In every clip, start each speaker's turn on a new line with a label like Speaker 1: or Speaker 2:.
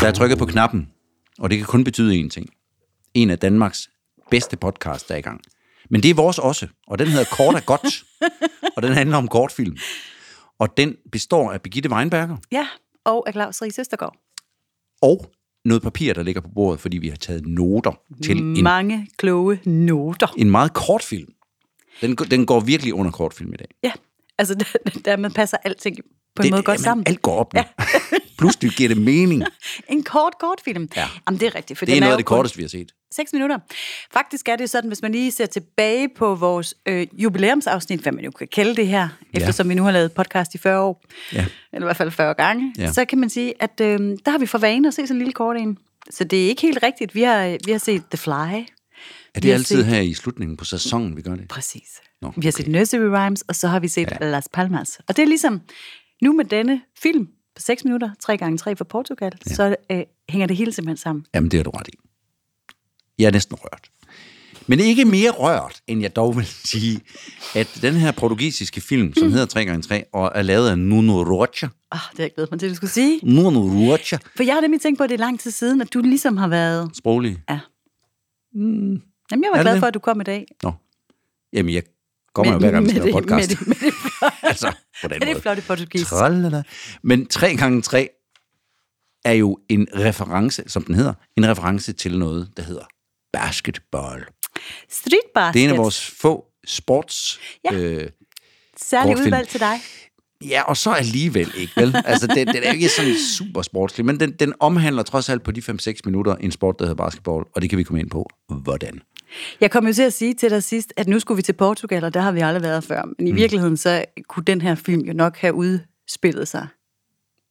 Speaker 1: Der er trykket på knappen, og det kan kun betyde én ting. En af Danmarks bedste podcast, der er i gang. Men det er vores også, og den hedder Kort er godt, og den handler om kortfilm. Og den består af Birgitte Weinberger
Speaker 2: Ja, og af Claus Ries Østergaard.
Speaker 1: og noget papir, der ligger på bordet, fordi vi har taget noter til
Speaker 2: Mm.
Speaker 1: en,
Speaker 2: Mange kloge noter.
Speaker 1: en meget kort film. Den, den går virkelig under kortfilm i dag.
Speaker 2: Ja, altså der, der man passer alting på en måde godt
Speaker 1: jamen,
Speaker 2: sammen.
Speaker 1: Alt går op nu. Pludselig giver det mening.
Speaker 2: En kort, kort film.
Speaker 1: Ja.
Speaker 2: Jamen, det er rigtigt. For
Speaker 1: Det er
Speaker 2: den
Speaker 1: noget af
Speaker 2: jo
Speaker 1: det
Speaker 2: kun
Speaker 1: korteste, vi har set.
Speaker 2: Seks minutter. Faktisk er det jo sådan, hvis man lige ser tilbage på vores øh, jubilæumsafsnit, hvad man jo kan kalde det her,
Speaker 1: Ja.
Speaker 2: ja. eftersom vi nu har lavet podcast i 40 år,
Speaker 1: Ja.
Speaker 2: eller i hvert fald 40 gange,
Speaker 1: Ja.
Speaker 2: ja. så kan man sige, at øh, der har vi for vane at se sådan en lille kort en. Så det er ikke helt rigtigt. Vi har, øh, vi har set The Fly.
Speaker 1: Er
Speaker 2: Vi
Speaker 1: det
Speaker 2: har
Speaker 1: altid
Speaker 2: set-
Speaker 1: her i slutningen på sæsonen, vi gør det?
Speaker 2: Præcis.
Speaker 1: Nå,
Speaker 2: Nå, Vi har
Speaker 1: okay.
Speaker 2: set Nursery Rhymes, og så har vi set ja. Las Palmas. Og det er ligesom, nu med denne film på 6 minutter, 3 gange 3 fra Portugal, ja. så øh, hænger det hele simpelthen sammen.
Speaker 1: Jamen, det har du ret i. Jeg er næsten rørt. Men ikke mere rørt, end jeg dog vil sige, at den her portugisiske film,
Speaker 2: Mm.
Speaker 1: som hedder 3x3, og er lavet af Nuno Rocha.
Speaker 2: Åh, det har jeg glædet mig til, at du skulle sige.
Speaker 1: Nuno Rocha.
Speaker 2: For jeg har nemlig tænkt på, at det er lang tid siden, at du ligesom har været...
Speaker 1: Sproglig.
Speaker 2: Ja. Jamen, jeg var
Speaker 1: Er det
Speaker 2: glad
Speaker 1: det?
Speaker 2: for, at du kom i dag.
Speaker 1: Nå. Jamen, jeg kommer jo hver gang, vi skal
Speaker 2: det,
Speaker 1: lave podcast.
Speaker 2: Med det, med det,
Speaker 1: altså, på den
Speaker 2: med det
Speaker 1: måde.
Speaker 2: flotte portugis.
Speaker 1: Tralala. Men 3 gange 3 er jo en reference, som den hedder, en reference til noget, der hedder basketball.
Speaker 2: Street basket.
Speaker 1: Det er en af vores få sports...
Speaker 2: Ja.
Speaker 1: Øh,
Speaker 2: Særligt
Speaker 1: kortfilm.
Speaker 2: udvalg til dig.
Speaker 1: ja, og så alligevel ikke, vel? Altså, den, den er jo ikke sådan super sportslig, men den, den omhandler trods alt på de 5-6 minutter en sport, der hedder basketball, og det kan vi komme ind på. Hvordan?
Speaker 2: Jeg kom jo til at sige til dig sidst, at nu skulle vi til Portugal, og der har vi aldrig været før. Men i
Speaker 1: Mm.
Speaker 2: virkeligheden, så kunne den her film jo nok have udspillet sig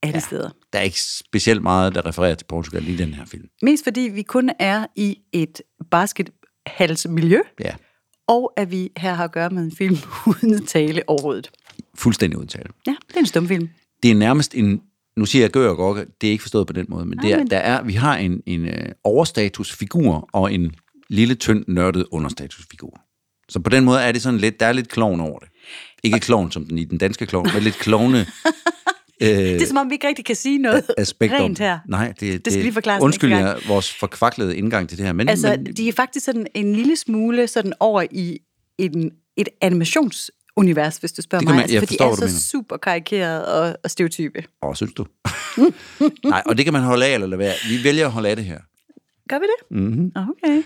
Speaker 2: alle ja. steder.
Speaker 1: Der er ikke specielt meget, der refererer til Portugal i den her film.
Speaker 2: Mest fordi vi kun er i et baskethalsmiljø,
Speaker 1: Ja,
Speaker 2: og at vi her har at gøre med en film uden tale overhovedet.
Speaker 1: fuldstændig udtale.
Speaker 2: Ja, det er en stumfilm.
Speaker 1: det er nærmest en, nu siger jeg gør og gokke, det er ikke forstået på den måde, men, det er,
Speaker 2: men-
Speaker 1: der er, vi har en, en øh, overstatusfigur og en lille, tynd, nørdet understatusfigur. Så på den måde er det sådan lidt, der er lidt klovn over det. Ikke klovn som den i den danske klovn, men lidt klovne øh,
Speaker 2: Det er som om, vi ikke rigtig kan sige noget
Speaker 1: aspekt. om-
Speaker 2: rent her.
Speaker 1: Nej, det, det,
Speaker 2: skal lige forklares en
Speaker 1: Undskyld
Speaker 2: gang.
Speaker 1: jeg, vores forkvaklede indgang til det her, men,
Speaker 2: Altså,
Speaker 1: men
Speaker 2: de er faktisk sådan en lille smule sådan over i en, et animationsunivers, hvis du spørger
Speaker 1: Det kan
Speaker 2: mig.
Speaker 1: man-
Speaker 2: altså,
Speaker 1: jeg
Speaker 2: for
Speaker 1: forstår,
Speaker 2: de er
Speaker 1: hvad du
Speaker 2: så
Speaker 1: mener.
Speaker 2: super karikeret og, og stereotype.
Speaker 1: åh, synes du? Nej, og det kan man holde af eller lade være. Vi vælger at holde af det her.
Speaker 2: Gør vi det?
Speaker 1: Mhm.
Speaker 2: Mm-hmm. Okay.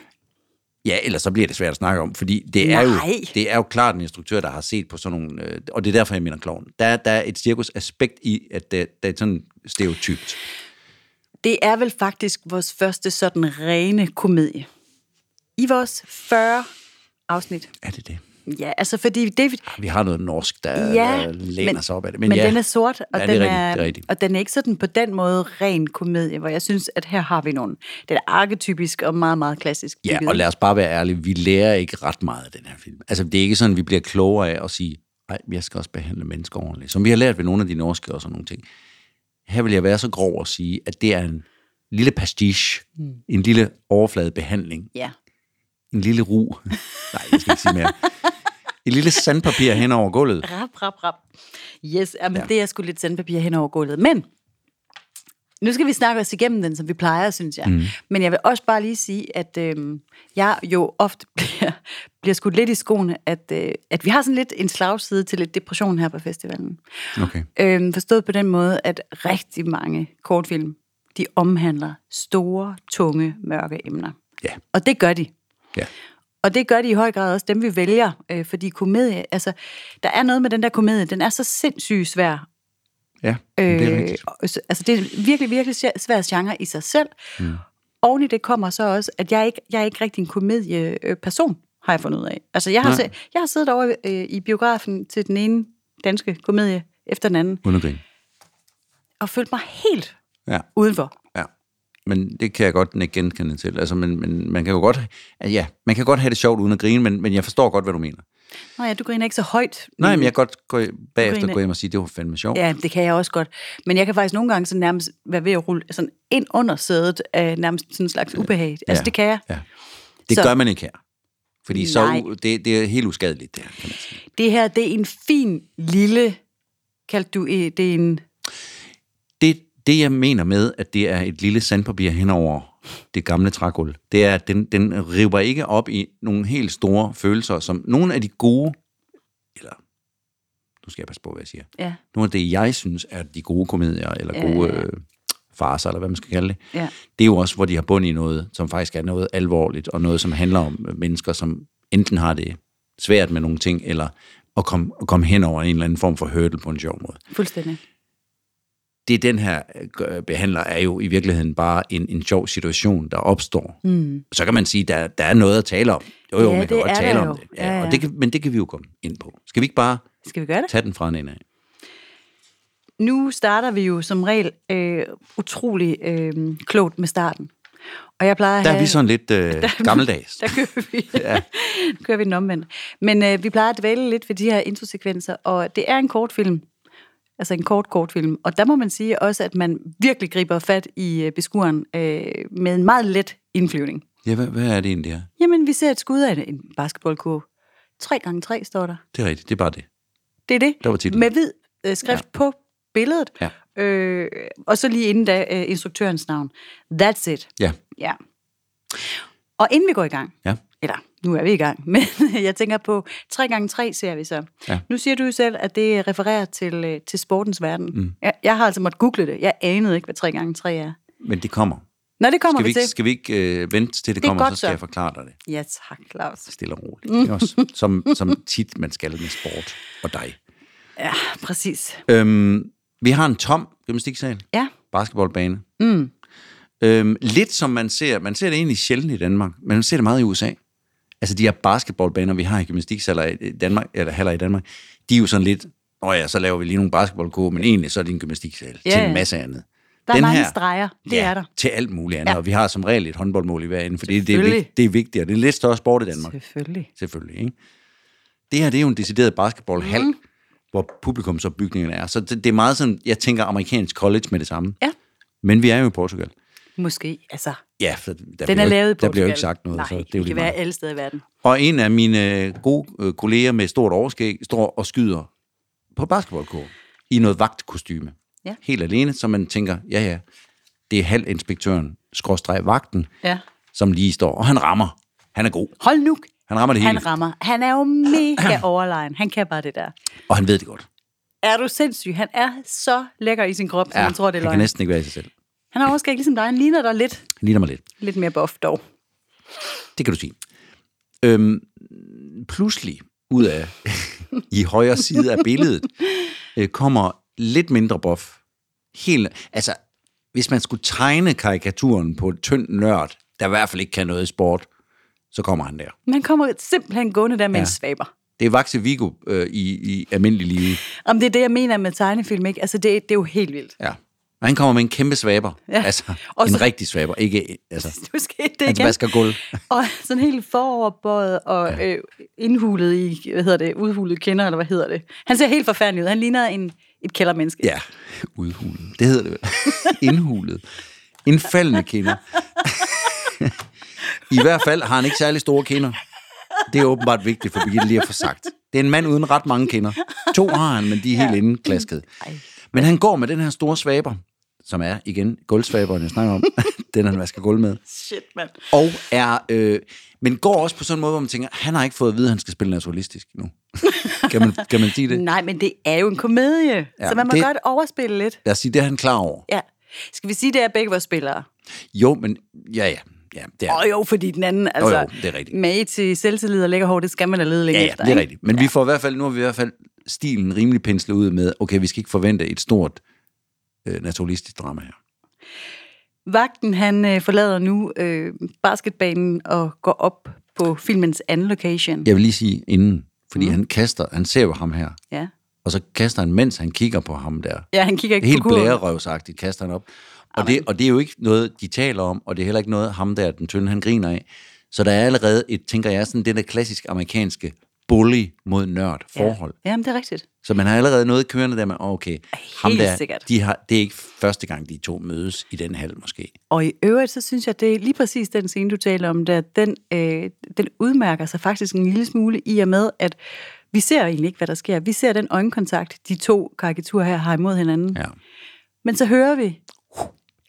Speaker 1: Ja, ellers så bliver det svært at snakke om, fordi det er, jo,
Speaker 2: Nej.
Speaker 1: det er jo klart en instruktør, der har set på sådan nogle... Øh, og det er derfor, jeg mener kloven. Der, er- der er et cirkusaspekt i, at det, det er sådan stereotypt.
Speaker 2: Det er vel faktisk vores første sådan rene komedie. I vores 40 afsnit.
Speaker 1: Er det det?
Speaker 2: Ja, altså fordi det...
Speaker 1: Vi har noget norsk, der, ja,
Speaker 2: Ja,
Speaker 1: der læner men, sig op af det.
Speaker 2: men, men
Speaker 1: ja,
Speaker 2: den er sort, og,
Speaker 1: Ja, det er
Speaker 2: den
Speaker 1: rigtigt,
Speaker 2: er,
Speaker 1: det er rigtigt.
Speaker 2: og den er ikke sådan på den måde ren komedie, hvor jeg synes, at her har vi nogen. Den er arketypisk og meget, meget klassisk.
Speaker 1: ja,
Speaker 2: bygget.
Speaker 1: og lad os bare være ærlige. Vi lærer ikke ret meget af den her film. Altså, det er ikke sådan, vi bliver klogere af at sige, nej, jeg skal også behandle mennesker ordentligt. Som vi har lært ved nogle af de norske og sådan nogle ting. Her vil jeg være så grov at sige, at det er en lille pastiche, mm. en lille overfladebehandling
Speaker 2: Ja.
Speaker 1: en lille ru. Nej, jeg skal ikke sige mere. Et lille sandpapir hen over gulvet.
Speaker 2: Rap, rap, rap. Yes, jamen, ja. det er sgu lidt sandpapir hen over gulvet. Men nu skal vi snakke os igennem den, som vi plejer, synes jeg. Mm. Men jeg vil også bare lige sige, at øh, jeg jo ofte bliver, bliver skudt lidt i skoene, at, øh, at vi har sådan lidt en slagside til lidt depression her på festivalen.
Speaker 1: Okay.
Speaker 2: Øh, forstået på den måde, at rigtig mange kortfilm, de omhandler store, tunge, mørke emner.
Speaker 1: Ja,
Speaker 2: Og det gør de.
Speaker 1: ja.
Speaker 2: Og det gør de i høj grad også dem, vi vælger, øh, fordi komedie, altså, der er noget med den der komedie, den er så sindssygt svær.
Speaker 1: Ja, øh, det er rigtigt.
Speaker 2: og- altså, det er en virkelig, virkelig svæ- svær genre i sig selv. Mm. Oven i det kommer så også, at jeg ikke, jeg er ikke rigtig en komedieperson, har jeg fundet ud af. Altså, jeg har, se, jeg har siddet over øh, i biografen til den ene danske komedie efter den anden,
Speaker 1: Uden at grine.
Speaker 2: og følt mig helt
Speaker 1: Ja,
Speaker 2: udenfor.
Speaker 1: ja. Men det kan jeg godt ikke genkende til. Altså, men, men man kan jo godt, ja, man kan godt have det sjovt uden at grine, men, men jeg forstår godt, hvad du mener.
Speaker 2: Nå ja, du griner ikke så højt.
Speaker 1: Nej, men jeg kan godt gå, bagefter
Speaker 2: Grine.
Speaker 1: gå hjem og sige, det var fandme sjovt.
Speaker 2: Ja, det kan jeg også godt. Men jeg kan faktisk nogle gange sådan nærmest være ved at rulle sådan ind under sædet af nærmest sådan en slags ubehag. Altså,
Speaker 1: Ja.
Speaker 2: det kan jeg.
Speaker 1: Ja. Det
Speaker 2: Så-
Speaker 1: gør man ikke her. Fordi så,
Speaker 2: Nej.
Speaker 1: u- det, det er helt uskadeligt, det her, kan man sige.
Speaker 2: Det her, det er en fin lille... Kaldte du øh, det er en...
Speaker 1: Det, Det, jeg mener med, at det er et lille sandpapir henover det gamle trægulv, det er, at den, den river ikke op i nogle helt store følelser, som nogle af de gode, eller nu skal jeg passe på, hvad jeg siger,
Speaker 2: Ja,
Speaker 1: nogle af det, jeg synes er de gode komedier, eller
Speaker 2: Ja,
Speaker 1: gode
Speaker 2: ja, ja.
Speaker 1: øh, farser, eller hvad man skal kalde det,
Speaker 2: ja.
Speaker 1: det er jo også, hvor de har bund i noget, som faktisk er noget alvorligt, og noget, som handler om øh, mennesker, som enten har det svært med nogle ting, eller at komme, at komme hen over en eller anden form for hurdle på en sjov måde.
Speaker 2: Fuldstændig.
Speaker 1: Det den her øh, behandler er jo i virkeligheden bare en, en sjov situation, der opstår. Mm. Så kan man sige, der, der er noget at tale om. Jo, jo,
Speaker 2: Ja,
Speaker 1: man kan
Speaker 2: det
Speaker 1: godt
Speaker 2: er
Speaker 1: tale
Speaker 2: der
Speaker 1: om
Speaker 2: jo.
Speaker 1: det. Ja,
Speaker 2: Ja,
Speaker 1: ja.
Speaker 2: ja.
Speaker 1: Og det kan, men det kan vi jo komme ind på. Skal vi ikke bare
Speaker 2: Skal vi gøre det?
Speaker 1: tage den fra en ende af?
Speaker 2: Nu starter vi jo som regel øh, utrolig øh, klogt med starten. Og jeg plejer at
Speaker 1: Der er
Speaker 2: have...
Speaker 1: vi sådan lidt øh, gammeldags.
Speaker 2: Der kører vi, ja. kører vi den omvendt. Men øh, vi plejer at dvæle lidt ved de her introsekvenser, og det er en kort film. Altså en kort, kort film. Og der må man sige også, at man virkelig griber fat i øh, beskueren øh, med en meget let indflyvning.
Speaker 1: Ja, hvad, hvad er det egentlig her?
Speaker 2: Jamen, vi ser et skud af en- en basketballkurve. 3 gange 3 står der.
Speaker 1: Det er rigtigt, det er bare det.
Speaker 2: Det er det.
Speaker 1: Der var titlen.
Speaker 2: Med hvid øh, skrift ja. på billedet.
Speaker 1: Ja.
Speaker 2: Øh, og så lige inden da øh, instruktørens navn. That's it.
Speaker 1: Ja,
Speaker 2: Ja. Og inden vi går i gang,
Speaker 1: ja.
Speaker 2: eller nu er vi i gang, men jeg tænker på 3x3 ser vi så.
Speaker 1: Ja.
Speaker 2: Nu siger du jo selv, at det refererer til, øh, til sportens verden. Mm. Jeg, jeg har altså måttet google det. Jeg anede ikke, hvad 3x3 er.
Speaker 1: Men det kommer.
Speaker 2: Nå, det kommer
Speaker 1: Skal
Speaker 2: vi,
Speaker 1: vi, ikke-
Speaker 2: til.
Speaker 1: skal vi ikke øh, vente til det,
Speaker 2: Det er
Speaker 1: kommer,
Speaker 2: godt
Speaker 1: så skal
Speaker 2: så. Mm.
Speaker 1: jeg forklare dig det
Speaker 2: Ja, tak, Claus.
Speaker 1: stille og roligt. Ikke også? Som, som tit man skal med sport og dig.
Speaker 2: Præcis.
Speaker 1: Øhm, vi har en tom gymnastiksal,
Speaker 2: Ja,
Speaker 1: basketballbane. Mm. Øhm, lidt som man ser, man ser det egentlig sjældent i Danmark, men man ser det meget i USA. Altså de her basketballbaner, vi har i gymnastiksaler i Danmark, eller haller i Danmark, de er jo sådan lidt, åh ja, så laver vi lige nogle basketballkurve, men egentlig så er det en gymnastiksal
Speaker 2: Ja,
Speaker 1: til en
Speaker 2: ja.
Speaker 1: masse andet.
Speaker 2: der er mange streger. Det
Speaker 1: ja,
Speaker 2: er der.
Speaker 1: til alt muligt andet, ja. og vi har som regel et håndboldmål i hver ende, for det, det, er,
Speaker 2: Selvfølgelig.
Speaker 1: vigt- det er vigtigt, og det er en lidt større sport i Danmark
Speaker 2: Selvfølgelig.
Speaker 1: selvfølgelig. Ikke? Det her, det er jo en decideret basketballhal,
Speaker 2: Mhm.
Speaker 1: mm. hvor publikumsopbygningerne er. Så det, det er meget sådan, jeg tænker amerikansk college med det samme.
Speaker 2: Ja,
Speaker 1: Men vi er jo i Portugal.
Speaker 2: måske. Altså,
Speaker 1: Ja, for der,
Speaker 2: den
Speaker 1: bliver,
Speaker 2: er
Speaker 1: jo-
Speaker 2: lavet i Portugal.
Speaker 1: der bliver jo ikke sagt noget.
Speaker 2: Nej,
Speaker 1: så det er
Speaker 2: vi
Speaker 1: jo
Speaker 2: kan
Speaker 1: lige
Speaker 2: være
Speaker 1: meget.
Speaker 2: alle steder i verden.
Speaker 1: Og en af mine øh, gode øh, kolleger med stort overskæg står og skyder på basketballkår i noget vagtkostyme.
Speaker 2: Ja.
Speaker 1: Helt alene, så man tænker, ja ja, det er halvinspektøren, skråstreg vagten,
Speaker 2: Ja.
Speaker 1: som lige står, og han rammer. Han er god.
Speaker 2: Hold nu.
Speaker 1: Han rammer det hele,
Speaker 2: Han rammer. Han er jo mega overlegen. Han kan bare det der.
Speaker 1: og han ved det godt.
Speaker 2: Er du sindssyg? Han er så lækker i sin krop, ja, som man tror, det er
Speaker 1: han
Speaker 2: løgn.
Speaker 1: kan næsten ikke være i sig selv.
Speaker 2: Han har overskæg ligesom dig. Han ligner dig lidt,
Speaker 1: Han ligner mig lidt.
Speaker 2: lidt mere buff dog.
Speaker 1: Det kan du sige. Øhm, pludselig, ud af i højre side af billedet, øh, kommer lidt mindre buff. Helt, altså, hvis man skulle tegne karikaturen på et tynd nørd, der i hvert fald ikke kan noget i sport, så kommer han der.
Speaker 2: Men han kommer simpelthen gående der med ja. en
Speaker 1: Ja.
Speaker 2: svaber.
Speaker 1: Det er Vaxe Vigo øh, i, i almindelig liv.
Speaker 2: Om det er det, jeg mener med tegnefilm, ikke? Altså, det, det er jo helt vildt.
Speaker 1: Ja. Og han kommer med en kæmpe svaber.
Speaker 2: Ja.
Speaker 1: Ja. Altså,
Speaker 2: Og
Speaker 1: en
Speaker 2: så-
Speaker 1: rigtig svaber. Ikke, altså,
Speaker 2: Nu skete det
Speaker 1: han
Speaker 2: igen.
Speaker 1: vasker gulv.
Speaker 2: Og sådan helt foroverbøjet og ja. øh, indhulet i, hvad hedder det, udhulet kinder, eller hvad hedder det. Han ser helt forfærdelig ud. Han ligner en, et kældermenneske.
Speaker 1: Ja, udhulet. Det hedder det vel. Indhulet. En faldende kinder. I hvert fald har han ikke særlig store kinder. Det er åbenbart vigtigt for Birgitte lige at få sagt. Det er en mand uden ret mange kinder. To har han, men de er helt ja. indklaskede. Men han går med den her store svaber, som er, igen, gulvsvaberen, jeg snakker om. den han vasker gulv med.
Speaker 2: Shit, mand.
Speaker 1: Og er, øh, men går også på sådan en måde, hvor man tænker, han har ikke fået at vide, at han skal spille naturalistisk nu. kan, man, kan man sige det?
Speaker 2: Nej, men det er jo en komedie, ja, så man må det...
Speaker 1: det-
Speaker 2: godt overspille lidt.
Speaker 1: Lad os sige, det er han klar over.
Speaker 2: Ja. Skal vi sige, det er begge vores spillere?
Speaker 1: Jo, men ja, ja. ja det er.
Speaker 2: Åh oh, jo, fordi den anden, altså,
Speaker 1: jo, det er rigtigt.
Speaker 2: mage til selvtillid og lækker hår, det skal man da lede længe
Speaker 1: Ja,
Speaker 2: efter.
Speaker 1: ja, det er
Speaker 2: ikke?
Speaker 1: rigtigt. Men ja. vi får i hvert fald, nu har vi i hvert fald stilen rimelig penslet ud med, okay, vi skal ikke forvente et stort øh, naturalistisk drama her.
Speaker 2: Vagten, han øh, forlader nu øh, basketbanen og går op på filmens anden location.
Speaker 1: Jeg vil lige sige inden, fordi mm. han kaster, han ser jo ham her,
Speaker 2: Ja.
Speaker 1: og så kaster han, mens han kigger på ham der.
Speaker 2: ja, han kigger ikke
Speaker 1: Helt
Speaker 2: på kurven.
Speaker 1: blærerøvsagtigt kaster han op. Og det, og det er jo ikke noget, de taler om, og det er heller ikke noget, ham der, den tynde, han griner af. Så der er allerede et, tænker jeg, sådan det der klassisk amerikanske bully mod nørd forhold.
Speaker 2: Ja. Jamen, det er rigtigt.
Speaker 1: Så man har allerede noget kørende der med, "Åh, okay, ham
Speaker 2: Helt
Speaker 1: der,
Speaker 2: sikkert.
Speaker 1: de har, det er ikke første gang, de to mødes i den halv måske.
Speaker 2: Og i øvrigt, så synes jeg, det er lige præcis den scene, du taler om, der, den, øh, den udmærker sig faktisk en lille smule i og med, at vi ser egentlig ikke, hvad der sker. Vi ser den øjenkontakt, de to karikaturer her har imod hinanden.
Speaker 1: Ja.
Speaker 2: Men så hører vi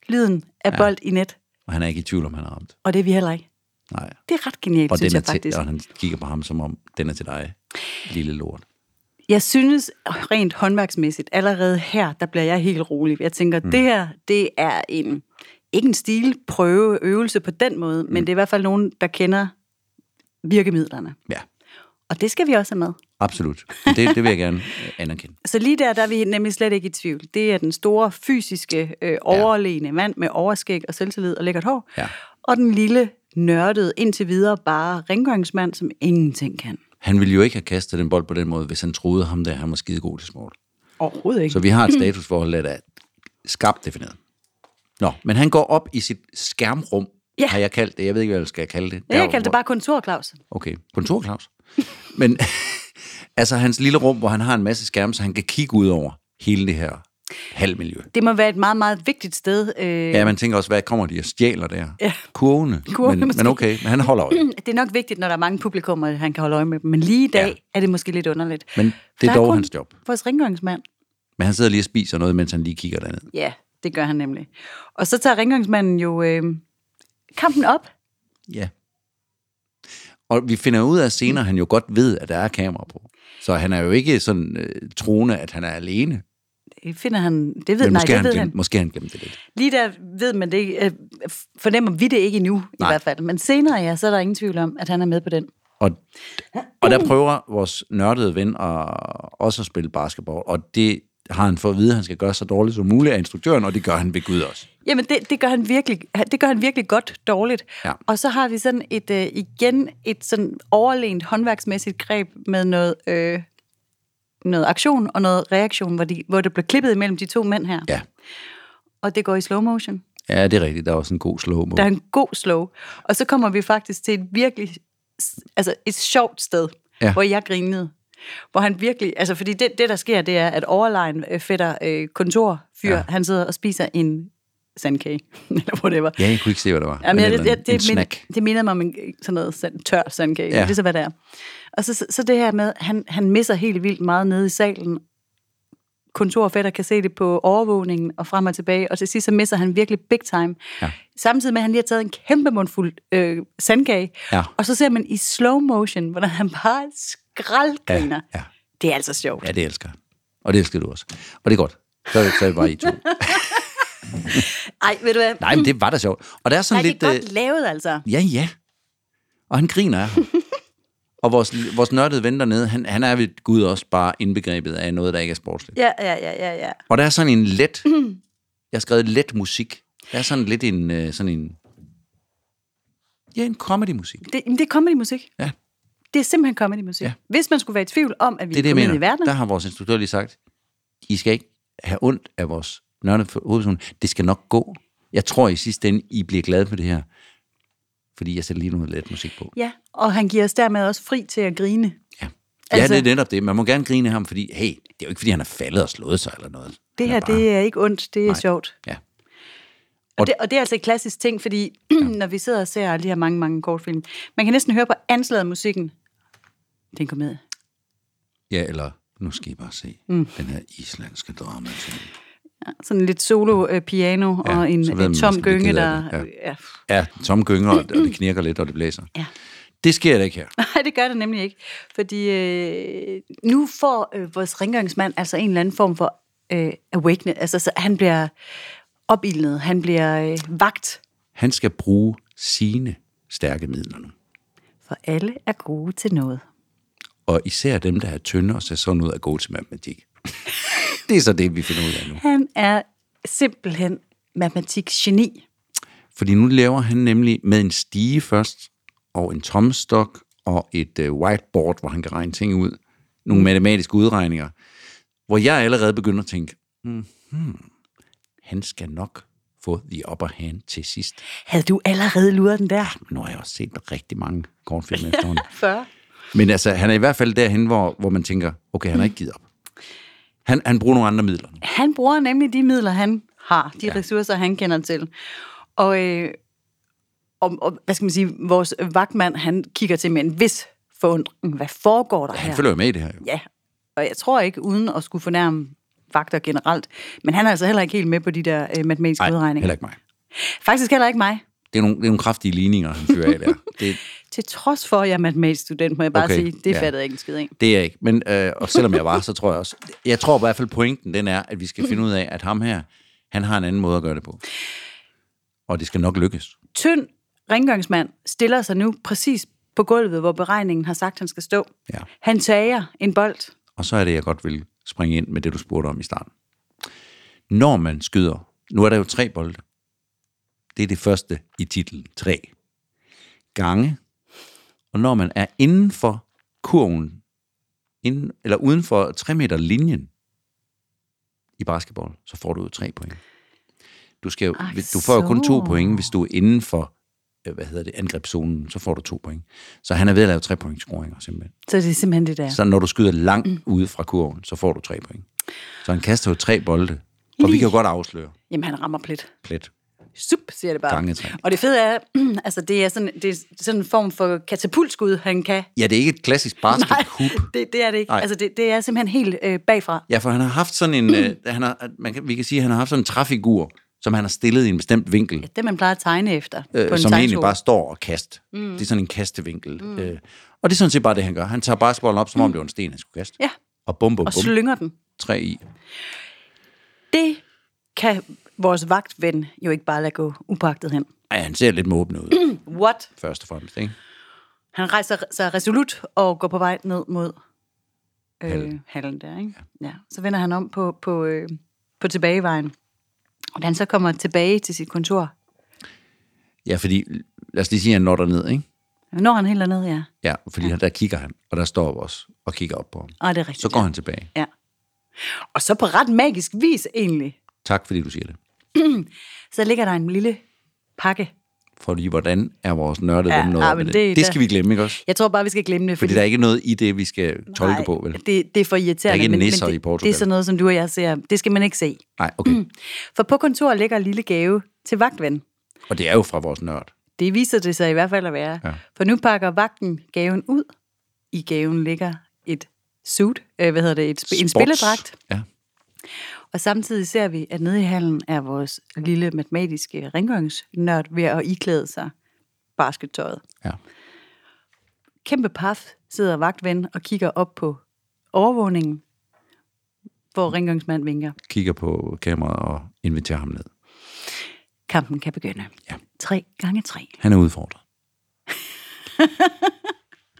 Speaker 2: lyden af ja. bold i net.
Speaker 1: Og han er ikke i tvivl om, han har ramt.
Speaker 2: Og det er vi heller ikke.
Speaker 1: Nej.
Speaker 2: Det er ret genialt,
Speaker 1: Og,
Speaker 2: synes
Speaker 1: den er
Speaker 2: jeg
Speaker 1: til,
Speaker 2: faktisk.
Speaker 1: og han kigger på ham, som om den er til dig, lille lort.
Speaker 2: Jeg synes rent håndværksmæssigt, allerede her, der bliver jeg helt rolig. Jeg tænker, mm. det her, det er en, ikke en stilprøve, øvelse på den måde, mm. men det er i hvert fald nogen, der kender virkemidlerne.
Speaker 1: Ja,
Speaker 2: Og det skal vi også have med.
Speaker 1: absolut. Det, det vil jeg gerne øh, anerkende.
Speaker 2: Så lige der, der er vi nemlig slet ikke i tvivl. Det er den store fysiske, øh, overlegne ja. mand med overskæg og selvtillid og lækkert hår.
Speaker 1: Ja.
Speaker 2: Og den lille, nørdede, indtil videre bare rengøringsmand, som ingenting kan.
Speaker 1: Han ville jo ikke have kastet den bold på den måde, hvis han troede ham, der han var skide god til sport.
Speaker 2: Overhovedet ikke.
Speaker 1: Så vi har et statusforhold, der er skarpt defineret. Nå, men han går op i sit skærmrum,
Speaker 2: Ja.
Speaker 1: har jeg kaldt det. Jeg ved ikke, hvad jeg skal kalde det.
Speaker 2: jeg
Speaker 1: Der,
Speaker 2: kaldte det
Speaker 1: hvor-
Speaker 2: bare kontor, Claus.
Speaker 1: Okay, kontor, Claus. Men altså hans lille rum, hvor han har en masse skærme, så han kan kigge ud over hele det her halvmiljø.
Speaker 2: Det må være et meget, meget vigtigt sted. Øh,
Speaker 1: Ja, man tænker også, hvad kommer de og stjæler der?
Speaker 2: Ja.
Speaker 1: Kurvene.
Speaker 2: Kurvene
Speaker 1: men, men
Speaker 2: måske.
Speaker 1: okay, men han holder øje.
Speaker 2: det er nok vigtigt, når der er mange publikummer, at han kan holde øje med dem. Men lige i dag
Speaker 1: Ja.
Speaker 2: ja. er det måske lidt underligt.
Speaker 1: Men det er
Speaker 2: Der
Speaker 1: dog
Speaker 2: kun
Speaker 1: hans job.
Speaker 2: Vores rengøringsmand.
Speaker 1: Men han sidder lige og spiser noget, mens han lige kigger derned.
Speaker 2: Ja, det gør han nemlig. Og så tager rengøringsmanden jo øh, kampen op.
Speaker 1: Ja. Og vi finder ud af senere, at han jo godt ved, at der er kamera på. Så han er jo ikke sådan øh, troende, at han er alene. Men
Speaker 2: Det finder han... Det ved, nej,
Speaker 1: måske,
Speaker 2: det
Speaker 1: har
Speaker 2: ved
Speaker 1: glemt,
Speaker 2: han.
Speaker 1: måske har han glemt det lidt.
Speaker 2: Lige der ved man det ikke, øh, fornemmer vi det ikke endnu, nej. i
Speaker 1: Nej.
Speaker 2: hvert fald. Men senere, ja, så er der ingen tvivl om, at han er med på den.
Speaker 1: Og, og der prøver vores nørdede ven at, også at spille basketball, og det har han fået at vide, at han skal gøre så dårligt som muligt af instruktøren, og det gør han ved Gud også.
Speaker 2: Jamen, det, det, gør han virkelig, det gør han virkelig godt dårligt.
Speaker 1: Ja.
Speaker 2: Og så har vi sådan et, øh, igen et sådan overlænt håndværksmæssigt greb med noget, øh, noget aktion og noget reaktion, hvor, de, hvor det bliver klippet imellem de to mænd her.
Speaker 1: Ja,
Speaker 2: Og det går i slow motion.
Speaker 1: ja det er rigtigt. Der er også en god slow
Speaker 2: Der er en god slow. Og så kommer vi faktisk til et virkelig, s- altså et sjovt sted,
Speaker 1: Ja.
Speaker 2: ja. hvor jeg grinede. Hvor han virkelig, altså fordi det, det der sker, det er, at overlegen øh, fætter øh, kontorfyr,
Speaker 1: Ja.
Speaker 2: ja. han sidder og spiser en sandkage, eller whatever.
Speaker 1: Ja, jeg kunne ikke se, hvad det var.
Speaker 2: Jamen,
Speaker 1: Men
Speaker 2: jeg,
Speaker 1: en,
Speaker 2: det, det,
Speaker 1: en
Speaker 2: det,
Speaker 1: snack.
Speaker 2: min, det minder mig om en sådan noget sand, tør sandkage.
Speaker 1: Ja.
Speaker 2: Ja. Det er så, hvad det er. Og så, så, så det her med, han, han misser helt vildt meget nede i salen. Kontor og fætter kan se det på overvågningen og frem og tilbage. Og til sidst, så misser han virkelig big time.
Speaker 1: Ja.
Speaker 2: Samtidig med, at han lige har taget en kæmpe mundfuld øh, sandkage.
Speaker 1: Ja.
Speaker 2: Og så ser man i slow motion, hvordan han bare skraldgriner.
Speaker 1: Ja, ja.
Speaker 2: Det er altså sjovt.
Speaker 1: Ja, det elsker han. Og det elsker du også. Og det er godt. Så er det, så er det bare I to.
Speaker 2: Ej, ved du hvad?
Speaker 1: Nej, men det var da sjovt. Og der er sådan
Speaker 2: Der er
Speaker 1: lidt...
Speaker 2: det
Speaker 1: øh,
Speaker 2: godt lavet, altså.
Speaker 1: Ja, ja. Og han griner af ham. Og vores, vores nørdede ven dernede, han, han er ved Gud også bare indbegrebet af noget, der ikke er sportsligt.
Speaker 2: Ja, ja, ja, ja, ja.
Speaker 1: Og der er sådan en let...
Speaker 2: Mm.
Speaker 1: Jeg har skrevet let musik. Der er sådan lidt en... øh, Sådan en ja, en comedy-musik.
Speaker 2: Det, men det er comedy-musik.
Speaker 1: Ja.
Speaker 2: Det er simpelthen comedy-musik.
Speaker 1: Ja.
Speaker 2: Ja. Hvis man skulle være i tvivl om, at vi
Speaker 1: Det er det, jeg
Speaker 2: kommet
Speaker 1: mener.
Speaker 2: i verden,
Speaker 1: Der har vores instruktør lige sagt, I skal ikke have ondt af vores nørdede hovedperson. Det skal nok gå. Jeg tror i sidste ende, I bliver glade for det her. Fordi jeg sætter lige noget let musik på.
Speaker 2: ja, og han giver os dermed også fri til at grine.
Speaker 1: Ja. Altså,
Speaker 2: Altså-
Speaker 1: ja, det er netop det. Man må gerne grine af ham, fordi, hey, det er jo ikke, fordi han er faldet og slået sig eller noget. Han
Speaker 2: Det
Speaker 1: er
Speaker 2: her,
Speaker 1: bare,
Speaker 2: det er ikke ondt, det er Nej. sjovt.
Speaker 1: Ja. Og-
Speaker 2: Og det, og det er altså et klassisk ting, fordi når vi sidder og ser alle de her mange, mange kortfilm, man kan næsten høre på anslaget af musikken. Det er en komedie.
Speaker 1: ja, eller nu skal I bare se mm. den her islandske drama.
Speaker 2: Ja, sådan lidt solo-piano
Speaker 1: Ja,
Speaker 2: og en,
Speaker 1: så ved man
Speaker 2: en
Speaker 1: næsten,
Speaker 2: tom
Speaker 1: vi gider
Speaker 2: gynge, der...
Speaker 1: af
Speaker 2: Ja.
Speaker 1: det,
Speaker 2: Ja.
Speaker 1: Ja, Tom gynger, og og det knirker lidt, og det blæser.
Speaker 2: Ja.
Speaker 1: Det sker da ikke her.
Speaker 2: Nej, det gør det nemlig ikke. Fordi øh, nu får øh, vores rengøringsmand altså en eller anden form for øh, awakening. Altså, så han bliver opildnet, han bliver øh, vagt.
Speaker 1: Han skal bruge sine stærke midler nu.
Speaker 2: For alle er gode til noget.
Speaker 1: Og især dem, der er tynde og ser sådan ud, er gode til matematik. det er så det, vi finder ud af nu.
Speaker 2: Han er simpelthen matematikgeni.
Speaker 1: Fordi nu laver han nemlig med en stige først, og en tommestok, og et øh, whiteboard, hvor han kan regne ting ud. Nogle matematiske udregninger. Hvor jeg allerede begynder at tænke, hmm, han skal nok få the upper hand til sidst.
Speaker 2: Havde du allerede luret den der?
Speaker 1: Men nu har jeg også set rigtig mange kortfilm efterhånden.
Speaker 2: 40.
Speaker 1: Men altså, han er i hvert fald derhen, hvor, hvor man tænker, okay, han har ikke givet op. Han, han bruger nogle andre midler. nu.
Speaker 2: Han bruger nemlig de midler, han har, de ja. ressourcer, han kender til. Og, øh, og, og, hvad skal man sige, vores vagtmand, han kigger til med en vis forundring. Hvad foregår der
Speaker 1: Han
Speaker 2: her?
Speaker 1: følger jo med i det her. Jo.
Speaker 2: Ja, og jeg tror ikke, uden at skulle fornærme vagter generelt. Men han er altså heller ikke helt med på de der øh, matematiske
Speaker 1: Nej,
Speaker 2: udregninger.
Speaker 1: heller ikke mig.
Speaker 2: Faktisk heller ikke mig.
Speaker 1: Det er nogle, det er nogle kraftige ligninger, han fyrer af der. Det,
Speaker 2: Til trods for, at jeg er matematisk student, må jeg bare
Speaker 1: Okay,
Speaker 2: okay, sige, det
Speaker 1: ja.
Speaker 2: ja. fattede jeg ikke en skid af.
Speaker 1: det er jeg ikke. Men, øh, og selvom jeg var, så tror jeg også... Jeg tror i hvert fald, pointen den er, at vi skal finde ud af, at ham her, han har en anden måde at gøre det på. Og det skal nok lykkes.
Speaker 2: Tynd rengøringsmand stiller sig nu præcis på gulvet, hvor beregningen har sagt, han skal stå.
Speaker 1: Ja.
Speaker 2: Han tager en bold.
Speaker 1: Og så er det, jeg godt vil springe ind med det, du spurgte om i starten. Når man skyder, nu er der jo tre bolde. Det er det første i titlen, tre gange. Og når man er inden for kurven, inden, eller uden for 3 meter linjen i basketball, så får du jo tre point. Du, skal jo,
Speaker 2: Ach,
Speaker 1: du får jo kun to
Speaker 2: så.
Speaker 1: point, hvis du er inden for øh, hvad hedder det, angrebszonen, så får du to point. Så han er ved at lave tre point scoringer, simpelthen.
Speaker 2: Så det er simpelthen det der.
Speaker 1: Så når du skyder langt mm. ude fra kurven, så får du tre point. Så han kaster jo tre bolde. Og vi kan jo godt afsløre
Speaker 2: Jamen, han rammer plet.
Speaker 1: plet.
Speaker 2: Sup, siger det bare.
Speaker 1: Gange tre.
Speaker 2: Og det fede er, altså det er sådan, det er sådan en form for katapultskud, han kan.
Speaker 1: Ja, det er ikke et klassisk basketkup.
Speaker 2: det, det er det ikke.
Speaker 1: Nej.
Speaker 2: Altså det, det er simpelthen helt øh, bagfra.
Speaker 1: Ja, for han har haft sådan en... Øh, han har, man kan, vi kan sige, at han har haft sådan en træfigur, som han har stillet i en bestemt vinkel,
Speaker 2: Det, man plejer at tegne efter øh, på
Speaker 1: øh,
Speaker 2: en
Speaker 1: som egentlig
Speaker 2: tegneskole.
Speaker 1: bare står og kast. Mm. Det er sådan en kastevinkel. Mm. Øh, og det er sådan set bare det, han gør. Han tager basketballen op, som om det var en sten, han skulle kaste.
Speaker 2: Ja,
Speaker 1: Og bum, bum,
Speaker 2: og
Speaker 1: bum.
Speaker 2: slynger den.
Speaker 1: Tre i.
Speaker 2: Det kan vores vagtven jo ikke bare lade gå upagtet hen.
Speaker 1: Ej, han ser lidt måbende ud,
Speaker 2: What?
Speaker 1: først og fremmest. Ikke?
Speaker 2: Han rejser sig resolut og går på vej ned mod øh,
Speaker 1: Hallen.
Speaker 2: hallen der, ikke? Ja. ja. Så vender han om på, på, øh, på tilbagevejen. Og da han så kommer tilbage til sit kontor,
Speaker 1: Ja, fordi... Lad os lige sige, at han når derned, ikke?
Speaker 2: når han helt dernede, ja.
Speaker 1: Ja, fordi ja. der kigger han, og der står vores og kigger op på ham.
Speaker 2: Og det er rigtigt.
Speaker 1: Så går han tilbage.
Speaker 2: Ja. Og så på ret magisk vis egentlig,
Speaker 1: Tak, fordi du siger det.
Speaker 2: så ligger der en lille pakke.
Speaker 1: Fordi hvordan er vores nørde
Speaker 2: Ja,
Speaker 1: ja, noget
Speaker 2: ah,
Speaker 1: ja,
Speaker 2: men
Speaker 1: det?
Speaker 2: det-
Speaker 1: Det skal vi glemme, ikke også?
Speaker 2: Jeg tror bare, vi skal glemme det.
Speaker 1: Fordi der er ikke noget i det, vi skal tolke
Speaker 2: nej,
Speaker 1: på, vel?
Speaker 2: Det, det er for irriterende.
Speaker 1: Der er ikke
Speaker 2: men- men
Speaker 1: nisser
Speaker 2: det,
Speaker 1: i Portugal.
Speaker 2: Det er sådan noget, som du og jeg ser. Det skal man ikke se.
Speaker 1: Nej, okay. Mm.
Speaker 2: For på kontoret ligger en lille gave til vagtven.
Speaker 1: Og det er jo fra vores nørd.
Speaker 2: Det viser det sig i hvert fald at være.
Speaker 1: Ja.
Speaker 2: For nu pakker vagten gaven ud. I gaven ligger et suit, øh, hvad hedder det, et, sp- en
Speaker 1: Sports.
Speaker 2: spilledragt.
Speaker 1: Ja.
Speaker 2: Og samtidig ser vi, at nede i hallen er vores lille matematiske rengøringsnørd ved at iklæde sig baskettøjet.
Speaker 1: ja.
Speaker 2: Kæmpe paf sidder vagtven og kigger op på overvågningen, hvor rengøringsmand vinker.
Speaker 1: Kigger på kameraet og inviterer ham ned.
Speaker 2: Kampen kan begynde.
Speaker 1: Ja.
Speaker 2: Tre gange tre.
Speaker 1: Han er udfordret.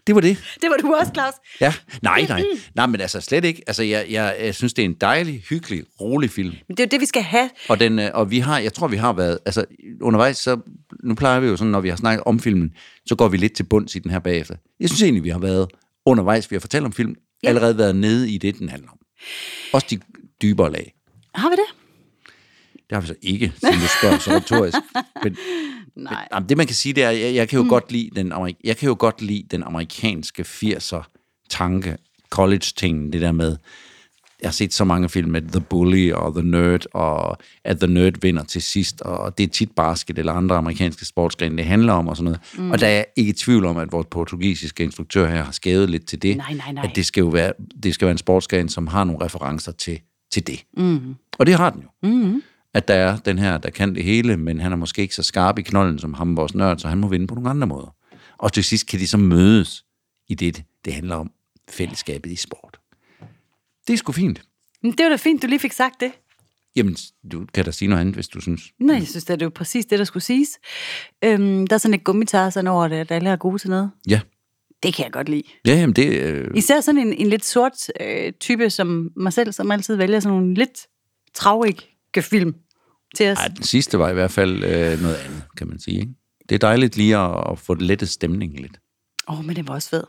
Speaker 1: det var det.
Speaker 2: Det var du også, Claus.
Speaker 1: Ja. Nej, nej. Nej, men altså slet ikke. Altså, jeg, jeg, jeg synes, det er en dejlig, hyggelig, rolig film.
Speaker 2: Men det er jo det, vi skal have.
Speaker 1: Og, den, øh, og vi har, jeg tror, vi har været, altså undervejs, så nu plejer vi jo sådan, når vi har snakket om filmen, så går vi lidt til bunds i den her bagefter. Jeg synes egentlig, vi har været undervejs, vi har fortalt om filmen, ja. allerede været nede i det, den handler om. Også de dybere lag.
Speaker 2: Har vi det?
Speaker 1: Det har vi så ikke, som du spørger så retorisk. Men,
Speaker 2: Nej.
Speaker 1: jamen, det man kan sige, det er, jeg, jeg kan jo mm. godt lide den, amerik- jeg kan jo godt lide den amerikanske 80'er tanke, college-tingen, det der med, jeg har set så mange film med The Bully og The Nerd, og at The Nerd vinder til sidst, og det er tit basket eller andre amerikanske sportsgrene, det handler om og sådan noget. Mm. Og der er jeg ikke i tvivl om, at vores portugisiske instruktør her har skævet lidt til det.
Speaker 2: Nej, nej, nej.
Speaker 1: At det skal jo være, det skal være en sportsgren, som har nogle referencer til, til det. Mm. Og det har den jo. Mm. At der er den her, der kan det hele, men han er måske ikke så skarp i knolden som ham, vores nørd, så han må vinde på nogle andre måder. Og til sidst kan de så mødes i det, det handler om fællesskabet i sport. Det er sgu fint.
Speaker 2: Men det var da fint, du lige fik sagt det.
Speaker 1: Jamen, du kan da sige noget andet, hvis du synes.
Speaker 2: Nej, jeg synes, da, det er jo præcis det, der skulle siges. Øhm, der er sådan et gummitarsen over det, at alle er gode til noget.
Speaker 1: Ja,
Speaker 2: Det kan jeg godt lide.
Speaker 1: ja jamen det... Øh,
Speaker 2: Især sådan en, en lidt sort øh, type som mig selv, som altid vælger sådan nogle lidt traurige film til os.
Speaker 1: ej, den sidste var i hvert fald øh, noget andet, kan man sige. Ikke? Det er dejligt lige at, at få det lettet stemningen lidt.
Speaker 2: Åh, oh, men det var også fed.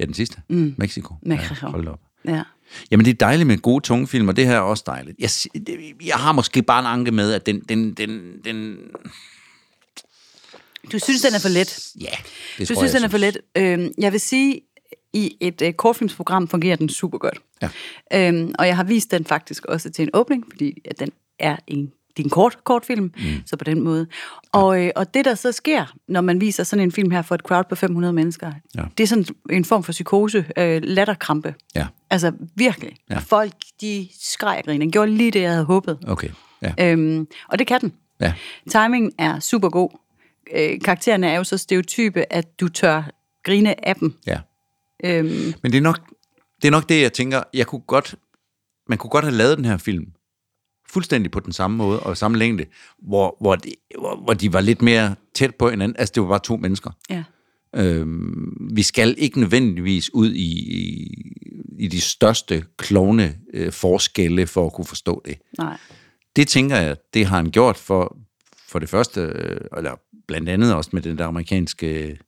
Speaker 1: Ja, den sidste. Mm. Mexico.
Speaker 2: Mexico.
Speaker 1: Ja, hold da op.
Speaker 2: Ja.
Speaker 1: Jamen, det er dejligt med gode tunge film, og det her er også dejligt. Jeg, si- det- jeg har måske bare en anke med, at den... den, den, den
Speaker 2: Du synes, den er for let.
Speaker 1: ja, det
Speaker 2: Du
Speaker 1: tror
Speaker 2: synes,
Speaker 1: jeg,
Speaker 2: den er for let. Øhm, jeg vil sige, i et øh, kortfilmsprogram fungerer den super godt.
Speaker 1: Ja.
Speaker 2: Øhm, og jeg har vist den faktisk også til en åbning, fordi at den er en det er en kort kortfilm, mm. så på den måde. Og, øh, og det, der så sker, når man viser sådan en film her for et crowd på 500 mennesker,
Speaker 1: Ja.
Speaker 2: ja. det er sådan en form for psykose, øh, latterkrampe.
Speaker 1: Ja.
Speaker 2: Altså virkelig.
Speaker 1: Ja.
Speaker 2: Ja. Folk, de skreg og griner. Den gjorde lige det, jeg havde håbet.
Speaker 1: Okay. Ja.
Speaker 2: Øhm, og det kan den.
Speaker 1: Ja.
Speaker 2: Timingen er super god. Øh, karaktererne er jo så stereotype, at du tør grine af dem.
Speaker 1: ja.
Speaker 2: Øhm,
Speaker 1: Men det er, nok, det er nok det, jeg tænker, jeg kunne godt, man kunne godt have lavet den her film fuldstændig på den samme måde og samme længde, hvor, hvor, de, hvor, hvor de var lidt mere tæt på hinanden. Altså, det var bare to mennesker.
Speaker 2: ja.
Speaker 1: Øhm, vi skal ikke nødvendigvis ud i, i, i de største klovne øh, forskelle for at kunne forstå det.
Speaker 2: Nej.
Speaker 1: Det tænker jeg, det har han gjort for, for det første, øh, eller blandt andet også med den der amerikanske